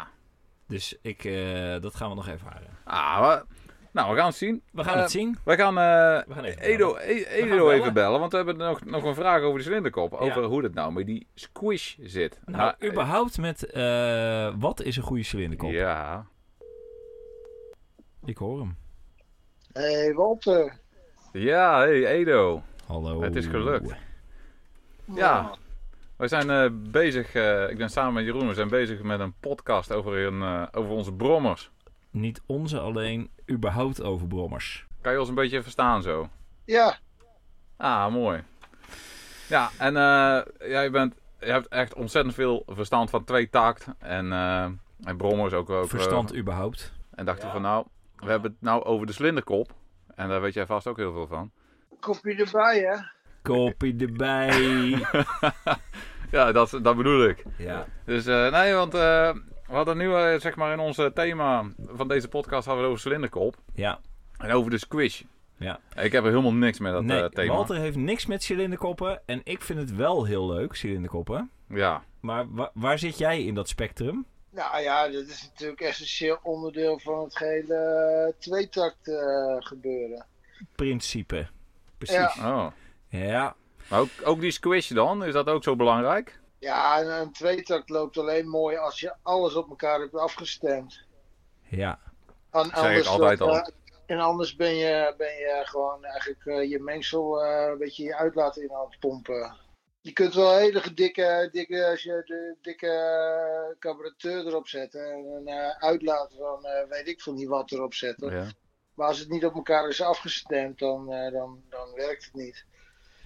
Speaker 1: Dus ik, eh, dat gaan we nog ervaren.
Speaker 2: ah wa- nou, we gaan het zien.
Speaker 1: We gaan
Speaker 2: Eh,
Speaker 1: het zien.
Speaker 2: Wij gaan, eh,
Speaker 1: We gaan even
Speaker 2: Edo, E- Edo
Speaker 1: gaan bellen.
Speaker 2: even bellen, want we hebben nog, nog een vraag over de cilinderkop. Over hoe dat nou met die squish zit.
Speaker 1: Nou,
Speaker 2: Ah,
Speaker 1: überhaupt met eh, wat is een goede cilinderkop?
Speaker 2: Ja.
Speaker 1: Ik hoor hem.
Speaker 3: hey, Walter.
Speaker 2: Ja, hey Edo.
Speaker 1: Hallo.
Speaker 2: Het is gelukt. Ja. We zijn eh, bezig, eh, ik ben samen met Jeroen, we zijn bezig met een podcast over, een, eh, over onze brommers.
Speaker 1: Niet onze alleen, überhaupt over brommers.
Speaker 2: Kan je ons een beetje verstaan zo?
Speaker 3: Ja,
Speaker 2: Ah, mooi. Ja, en eh, jij bent, jij hebt echt ontzettend veel verstand van twee takt en, eh, en brommers ook. ook eh,
Speaker 1: Verstand überhaupt.
Speaker 2: en dachten
Speaker 3: Ja.
Speaker 2: van nou, we hebben het nou over de slinderkop. En daar weet jij vast ook heel veel van.
Speaker 3: kopje erbij, hè?
Speaker 1: Kopie erbij.
Speaker 2: Ja, dat, dat bedoel ik.
Speaker 1: ja.
Speaker 2: Dus eh, nee, want eh, we hadden nu eh, zeg maar in ons eh, thema van deze podcast hadden we het over slinderkop.
Speaker 1: Ja.
Speaker 2: En over de squish.
Speaker 1: Ja.
Speaker 2: Ik heb er helemaal niks met dat eh,
Speaker 1: Nee,
Speaker 2: thema.
Speaker 1: Walter heeft niks met cilinderkoppen. En ik vind het wel heel leuk, cilinderkoppen.
Speaker 2: Ja,
Speaker 1: Maar wa- waar zit jij in dat spectrum?
Speaker 3: Nou ja, dat is natuurlijk essentieel onderdeel van het hele eh, tweetakt eh, gebeuren.
Speaker 1: Principe. Precies. Ja.
Speaker 2: oh. Maar ook, ook die squish dan, is dat ook zo belangrijk?
Speaker 3: Ja, en een tweetakt loopt alleen mooi als je alles op elkaar hebt afgestemd.
Speaker 1: Ja.
Speaker 3: An-
Speaker 2: ik altijd
Speaker 3: dan,
Speaker 2: al.
Speaker 3: eh, en anders ben je, ben je gewoon eigenlijk eh, je mengsel eh, een beetje je uitlaat in aan het pompen. Je kunt wel hele dikke, dikke, als je de, dikke eh, carburateur erop zet en een eh, uitlaat van eh, weet ik veel niet wat erop zetten.
Speaker 2: Ja.
Speaker 3: Maar als het niet op elkaar is afgestemd, dan, eh, dan, dan werkt het niet.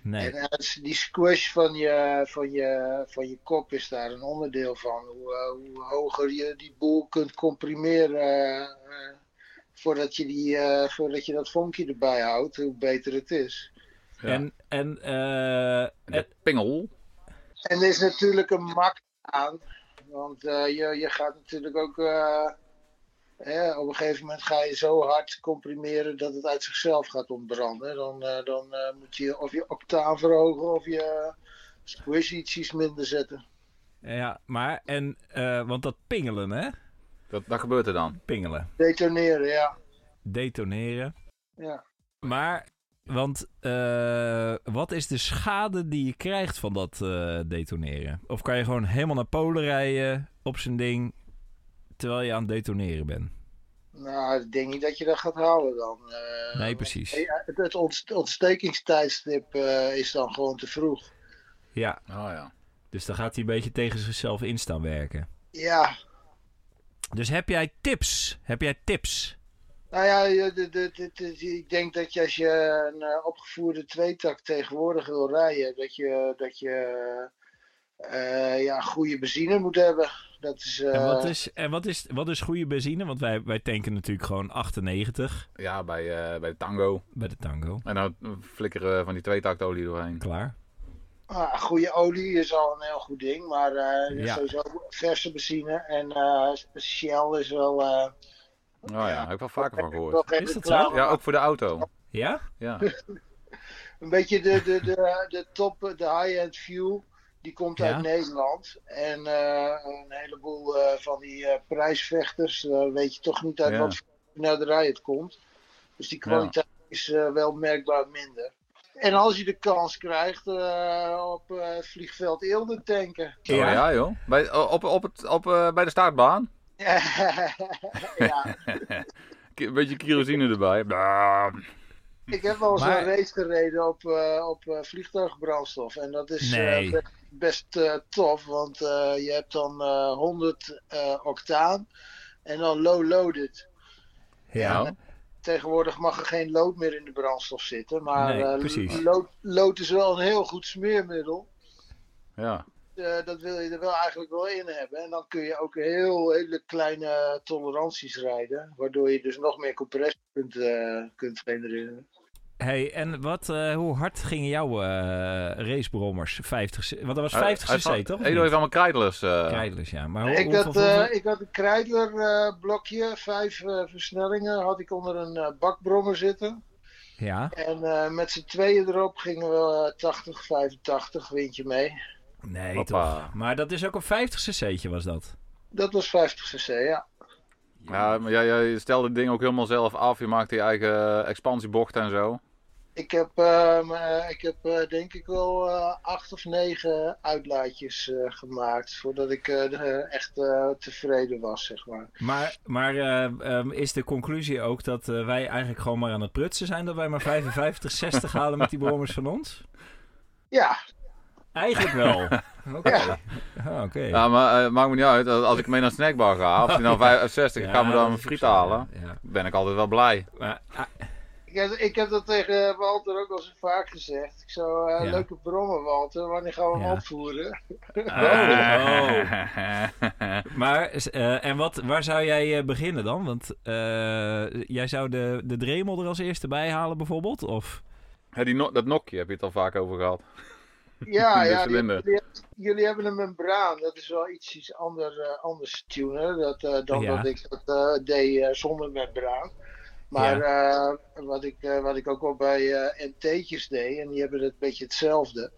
Speaker 1: Nee.
Speaker 3: En als die squish van je, van, je, van je kop is daar een onderdeel van. Hoe, eh, hoe hoger je die boel kunt comprimeren eh, eh, voordat, je die, eh, voordat je dat vonkje erbij houdt, hoe beter het is.
Speaker 2: Ja.
Speaker 1: En, en, eh,
Speaker 2: De pingel.
Speaker 3: En er is natuurlijk een mak aan. Want eh, je, je gaat natuurlijk ook. eh, hè, op een gegeven moment ga je zo hard comprimeren dat het uit zichzelf gaat ontbranden. Dan, eh, dan eh, moet je of je octaaf verhogen of je squish iets iets minder zetten.
Speaker 1: Ja, maar, en, eh, want dat pingelen, hè?
Speaker 2: Dat, dat gebeurt er dan.
Speaker 1: Pingelen.
Speaker 3: Detoneren, ja.
Speaker 1: Detoneren.
Speaker 3: ja.
Speaker 1: Maar, want eh, wat is de schade die je krijgt van dat eh, detoneren? Of kan je gewoon helemaal naar Polen rijden op zijn ding terwijl je aan het detoneren bent?
Speaker 3: Nou, ik denk niet dat je dat gaat houden dan. eh.
Speaker 1: Nee, precies.
Speaker 3: Ja, het- het ontst- ontstekingstijdstip eh, is dan gewoon te vroeg.
Speaker 1: Ja,
Speaker 2: Oh ja.
Speaker 1: dus dan gaat hij een beetje tegen zichzelf in staan werken.
Speaker 3: Ja,
Speaker 1: Dus heb jij tips? Heb jij tips?
Speaker 3: Nou ja, je- de- de- de- de- ik denk dat je als je een eh, opgevoerde tweetak tegenwoordig wil rijden, dat je, dat je eh, ja, goede benzine moet hebben. Dat is, eh,
Speaker 1: en wat is, en wat is, wat is goede benzine? Want wij, wij tanken natuurlijk gewoon 98
Speaker 2: Ja, bij, eh, bij de tango.
Speaker 1: bij de tango.
Speaker 2: En dan flikkeren we van die tweetaktolie doorheen.
Speaker 1: Klaar.
Speaker 3: ah, goede olie is al een heel goed ding, maar eh,
Speaker 1: Ja.
Speaker 3: sowieso verse benzine en eh, Shell is wel. eh,
Speaker 2: Oh ja, heb ik wel vaker van
Speaker 3: wel
Speaker 2: gehoord.
Speaker 3: geen
Speaker 1: Is dat zo?
Speaker 3: reclame,
Speaker 2: Ja, ook voor de auto.
Speaker 1: Ja?
Speaker 2: Ja.
Speaker 3: Een beetje de, de, de, de top, de high-end fuel, die komt
Speaker 1: Ja.
Speaker 3: uit Nederland. En eh, een heleboel eh, van die eh, prijsvechters, eh, weet je toch niet uit
Speaker 2: Ja.
Speaker 3: wat voor knelderij het komt. Dus die kwaliteit is eh, wel merkbaar minder. En als je de kans krijgt, eh, op eh, vliegveld Eelde tanken.
Speaker 2: Oh, ja. joh. Bij, op, op het, op, eh, bij de startbaan.
Speaker 3: ja,
Speaker 2: Een beetje kerosine erbij. Bam.
Speaker 3: ik heb wel eens
Speaker 1: Maar-
Speaker 3: een race gereden op, eh, op eh, vliegtuigbrandstof. En dat is eh,
Speaker 1: Nee.
Speaker 3: best, best, eh, tof, want eh, je hebt dan eh, 100 eh, octaan en dan low loaded.
Speaker 2: Nou,
Speaker 3: Tegenwoordig mag er geen lood meer in de brandstof zitten, maar
Speaker 1: Nee,
Speaker 3: eh,
Speaker 1: precies.
Speaker 3: lood, lood is wel een heel goed smeermiddel.
Speaker 2: ja.
Speaker 3: Eh, dat wil je er wel eigenlijk wel in hebben. En dan kun je ook heel hele kleine toleranties rijden, waardoor je dus nog meer compressie kunt, eh, kunt genereren.
Speaker 1: Hey, en wat, eh, hoe hard gingen jouw eh racebrommers? 50, c- want dat was 50
Speaker 2: Hij-
Speaker 1: cc,
Speaker 2: hij-
Speaker 1: toch? of
Speaker 2: Hij
Speaker 1: niet?
Speaker 2: heeft allemaal krijtlers. eh.
Speaker 1: Rijders, ja. Maar hoe,
Speaker 3: ik,
Speaker 1: Oh, hoeveel-
Speaker 3: had,
Speaker 1: hoeveel-
Speaker 3: eh, ik had een Kreidler eh, blokje, vijf eh, versnellingen, had ik onder een eh, bakbrommer zitten.
Speaker 1: Ja,
Speaker 3: En eh, met z'n tweeën erop gingen we eh, 80, 85 windje mee.
Speaker 1: nee
Speaker 2: Hoppa.
Speaker 1: toch. Maar dat is ook een 50 cc'tje was dat.
Speaker 3: Dat was 50 cc, ja.
Speaker 2: Ja, maar jij, jij stelde het ding ook helemaal zelf af. Je maakte je eigen eh, expansiebocht en zo.
Speaker 3: Ik heb, ehm, eh, ik heb eh, denk ik wel eh, acht of negen uitlaatjes eh, gemaakt voordat ik eh, de- echt eh, tevreden was, zeg maar.
Speaker 1: Maar, maar eh, ehm, is de conclusie ook dat eh, wij eigenlijk gewoon maar aan het prutsen zijn? Dat wij maar 55, 60 halen met die brommers van ons?
Speaker 3: Ja,
Speaker 1: Eigenlijk wel. Oké.
Speaker 3: Ja.
Speaker 1: Ah, oké.
Speaker 2: Ja, maar eh, maakt me niet uit. Als als ik mee naar de snackbar ga, of die nou 65, ik
Speaker 1: Ja,
Speaker 2: ga me
Speaker 1: dat
Speaker 2: dan
Speaker 1: is
Speaker 2: een
Speaker 1: ook
Speaker 2: friet
Speaker 1: zo,
Speaker 2: halen.
Speaker 1: ja. Ja.
Speaker 2: Ben ik altijd wel blij.
Speaker 1: Maar, ah,
Speaker 3: Ik heb, ik heb dat tegen Walter ook al zo vaak gezegd. Ik zou eh,
Speaker 1: Ja.
Speaker 3: leuke brommen, Walter. Wanneer gaan we hem
Speaker 1: Ja.
Speaker 3: opvoeren?
Speaker 2: Oh.
Speaker 1: ah, oh. Maar, eh, en wat, waar zou jij eh, beginnen dan? Want eh, jij zou de, de Dremel er als eerste bij halen bijvoorbeeld? Of?
Speaker 2: Hè, die no- dat nokje heb je het al vaak over gehad.
Speaker 3: Ja,
Speaker 2: De
Speaker 3: ja die-
Speaker 2: cilinder.
Speaker 3: jullie, jullie hebben een membraan. Dat is wel iets, iets ander, eh, anders tuner dat, eh, dan
Speaker 1: Ja.
Speaker 3: dat ik dat eh, deed eh, zonder membraan. Maar eh, wat, ik, eh, wat ik ook wel bij eh MT'tjes deed, en die hebben het een beetje hetzelfde.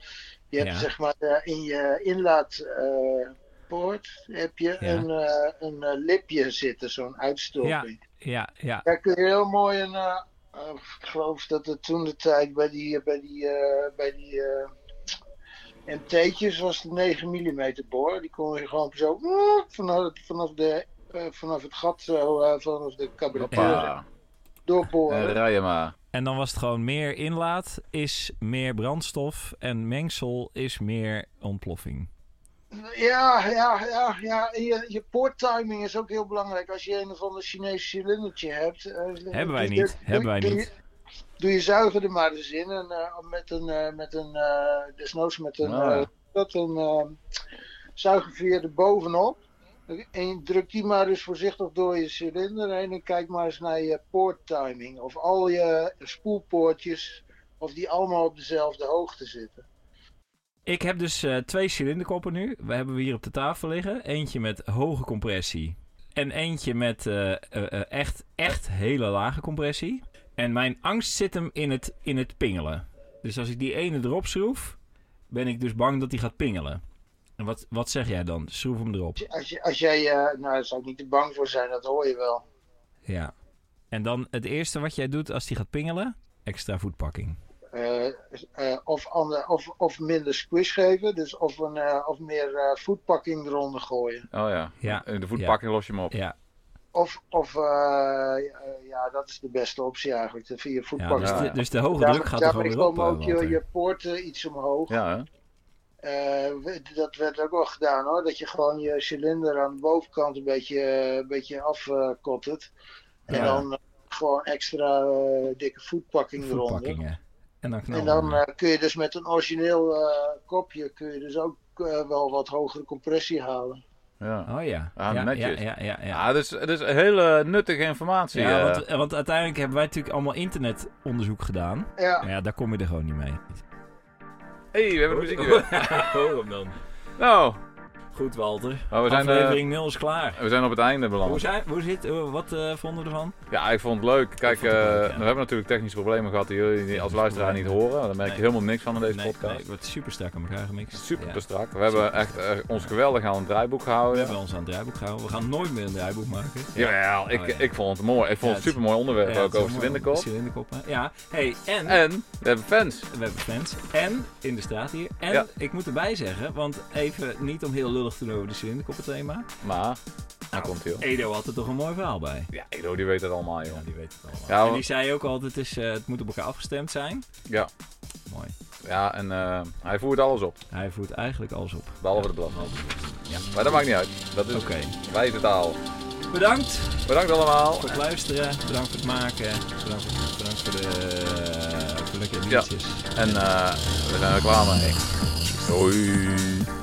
Speaker 3: Je hebt
Speaker 1: Ja.
Speaker 3: zeg maar eh, in je inlaatpoort heb je
Speaker 1: Ja.
Speaker 3: een, eh, een eh, lipje zitten, zo'n uitstulping.
Speaker 1: Ja, ja.
Speaker 3: Daar kun je heel mooi een. eh, eh, ik geloof dat het toen de tijd bij die. Bij die, eh, bij die eh MT'tjes was de 9 mm boor. Die kon je gewoon zo. eh, Vanaf, vanaf, de, eh, vanaf het gat, zo, eh, vanaf de cabrituur
Speaker 2: Hoppa. En
Speaker 3: doorboren.
Speaker 2: rij je maar.
Speaker 1: En dan was het gewoon meer inlaat is meer brandstof en mengsel is meer ontploffing.
Speaker 3: Ja, ja, ja. ja. En je, je poorttiming is ook heel belangrijk. Als je een of ander Chinees cilindertje hebt. eh,
Speaker 1: Hebben wij
Speaker 3: doe-
Speaker 1: niet,
Speaker 3: doe-
Speaker 1: hebben wij
Speaker 3: doe je-
Speaker 1: niet.
Speaker 3: Doe je zuiger er maar eens in. En, eh, met een, eh, met een eh, desnoods met een,
Speaker 2: Ah.
Speaker 3: eh, dat, een eh, zuigerveer er bovenop. En je drukt die maar eens voorzichtig door je cilinder heen. En kijk maar eens naar je poorttiming. Of al je spoelpoortjes, of die allemaal op dezelfde hoogte zitten.
Speaker 1: Ik heb dus eh, twee cilinderkoppen nu. We hebben we hier op de tafel liggen. Eentje met hoge compressie. En eentje met eh, eh, eh, echt, echt hele lage compressie. En mijn angst zit hem in het, in het pingelen. Dus als ik die ene erop schroef, ben ik dus bang dat die gaat pingelen. En wat, wat zeg jij dan? Schroef hem erop.
Speaker 3: Als, je, als jij, eh, nou daar zou ik niet te bang voor zijn, dat hoor je wel.
Speaker 1: Ja. En dan het eerste wat jij doet als die gaat pingelen, extra voetpakking.
Speaker 3: Eh, eh, of, ander, of, of minder squish geven, dus of, een, eh, of meer eh, voetpakking eronder gooien.
Speaker 2: Oh ja.
Speaker 1: Ja.
Speaker 2: In de voetpakking los je hem op.
Speaker 1: Ja,
Speaker 3: Of, of eh, ja, ja, dat is de beste optie eigenlijk, de vier
Speaker 1: ja,
Speaker 3: voetpakking.
Speaker 1: dus,
Speaker 2: Ja.
Speaker 1: de, dus de hoge
Speaker 3: Daar-
Speaker 1: druk gaat er
Speaker 3: daarmee
Speaker 1: gewoon weer op.
Speaker 3: komen ook
Speaker 1: eh, Walter.
Speaker 3: je, je poorten iets omhoog.
Speaker 2: Ja, hè?
Speaker 3: Eh, we- dat werd ook wel gedaan hoor. Dat je gewoon je cilinder aan de bovenkant een beetje, eh, een beetje afkottert. En
Speaker 2: Ja.
Speaker 3: dan eh, gewoon extra eh, dikke voetpakking eronder.
Speaker 1: voetpakkingen. En dan knallen
Speaker 3: En dan
Speaker 1: we.
Speaker 3: eh, kun je dus met een origineel eh, kopje kun je dus ook eh, wel wat hogere compressie halen.
Speaker 2: Ja.
Speaker 1: Oh ja.
Speaker 2: Ah,
Speaker 1: ja,
Speaker 2: netjes.
Speaker 1: Ja, ja, ja. ja.
Speaker 2: Ja, dus, dus hele nuttige informatie.
Speaker 1: Ja,
Speaker 2: eh.
Speaker 1: want, eh, want uiteindelijk hebben wij natuurlijk allemaal internetonderzoek gedaan.
Speaker 3: Ja,
Speaker 1: Maar ja, daar kom je er gewoon niet mee.
Speaker 2: hey, we hebben muziek weer.
Speaker 1: Hoor hem dan.
Speaker 2: Nou,
Speaker 1: Goed, Walter.
Speaker 2: maar we zijn, eh,
Speaker 1: Aflevering 0 is klaar.
Speaker 2: we zijn op het einde
Speaker 1: Hoe,
Speaker 2: beland.
Speaker 1: zijn, hoe zit, eh, wat eh, vonden we ervan?
Speaker 2: Ja, ik vond het leuk. Kijk,
Speaker 1: Ik vond het
Speaker 2: eh,
Speaker 1: leuk, ja.
Speaker 2: we hebben natuurlijk technische problemen gehad die jullie die als luisteraar niet horen. Daar merk je
Speaker 1: Nee.
Speaker 2: helemaal niks van in deze
Speaker 1: nee,
Speaker 2: podcast.
Speaker 1: nee, het wordt super strak aan elkaar gemixt.
Speaker 2: Super
Speaker 1: Ja.
Speaker 2: strak. We hebben echt eh, ons geweldig aan het draaiboek
Speaker 1: We
Speaker 2: gehouden.
Speaker 1: hebben ons aan het draaiboek gehouden. We gaan nooit meer een draaiboek maken.
Speaker 2: Jawel, ik,
Speaker 1: Oh, ja.
Speaker 2: ik vond het mooi. Ik vond
Speaker 1: Ja,
Speaker 2: het
Speaker 1: het-
Speaker 2: super mooi onderwerp
Speaker 1: Ja, het
Speaker 2: ook
Speaker 1: is wel
Speaker 2: over
Speaker 1: mooi.
Speaker 2: Cilinderkop.
Speaker 1: Cilinderkop, hè? Ja. Hey, en,
Speaker 2: En we hebben fans.
Speaker 1: we hebben fans. En in de straat hier. En
Speaker 2: Ja.
Speaker 1: ik moet erbij zeggen, want even niet om heel lullig te doen over de cilinderkoppen thema.
Speaker 2: Maar,
Speaker 1: Nou.
Speaker 2: daar komt hij joh.
Speaker 1: Edo had er toch een mooi verhaal bij.
Speaker 2: Ja, Edo die weet het allemaal joh.
Speaker 1: Ja, die weet het allemaal.
Speaker 2: Ja,
Speaker 1: en
Speaker 2: hoor.
Speaker 1: die zei ook altijd, het, is, eh, het moet op elkaar afgestemd zijn.
Speaker 2: Ja,
Speaker 1: Mooi.
Speaker 2: ja en eh, hij voert alles op.
Speaker 1: Hij voert eigenlijk alles op.
Speaker 2: Behalve de belasting. Maar dat maakt niet uit. Dat is
Speaker 1: Oké.
Speaker 2: wij de taal.
Speaker 1: Bedankt
Speaker 2: Bedankt allemaal.
Speaker 1: voor het luisteren. Bedankt voor het maken. Bedankt voor, bedankt voor de, eh, voor de leuke liedjes.
Speaker 2: En eh, we zijn er klaar mee. Doei.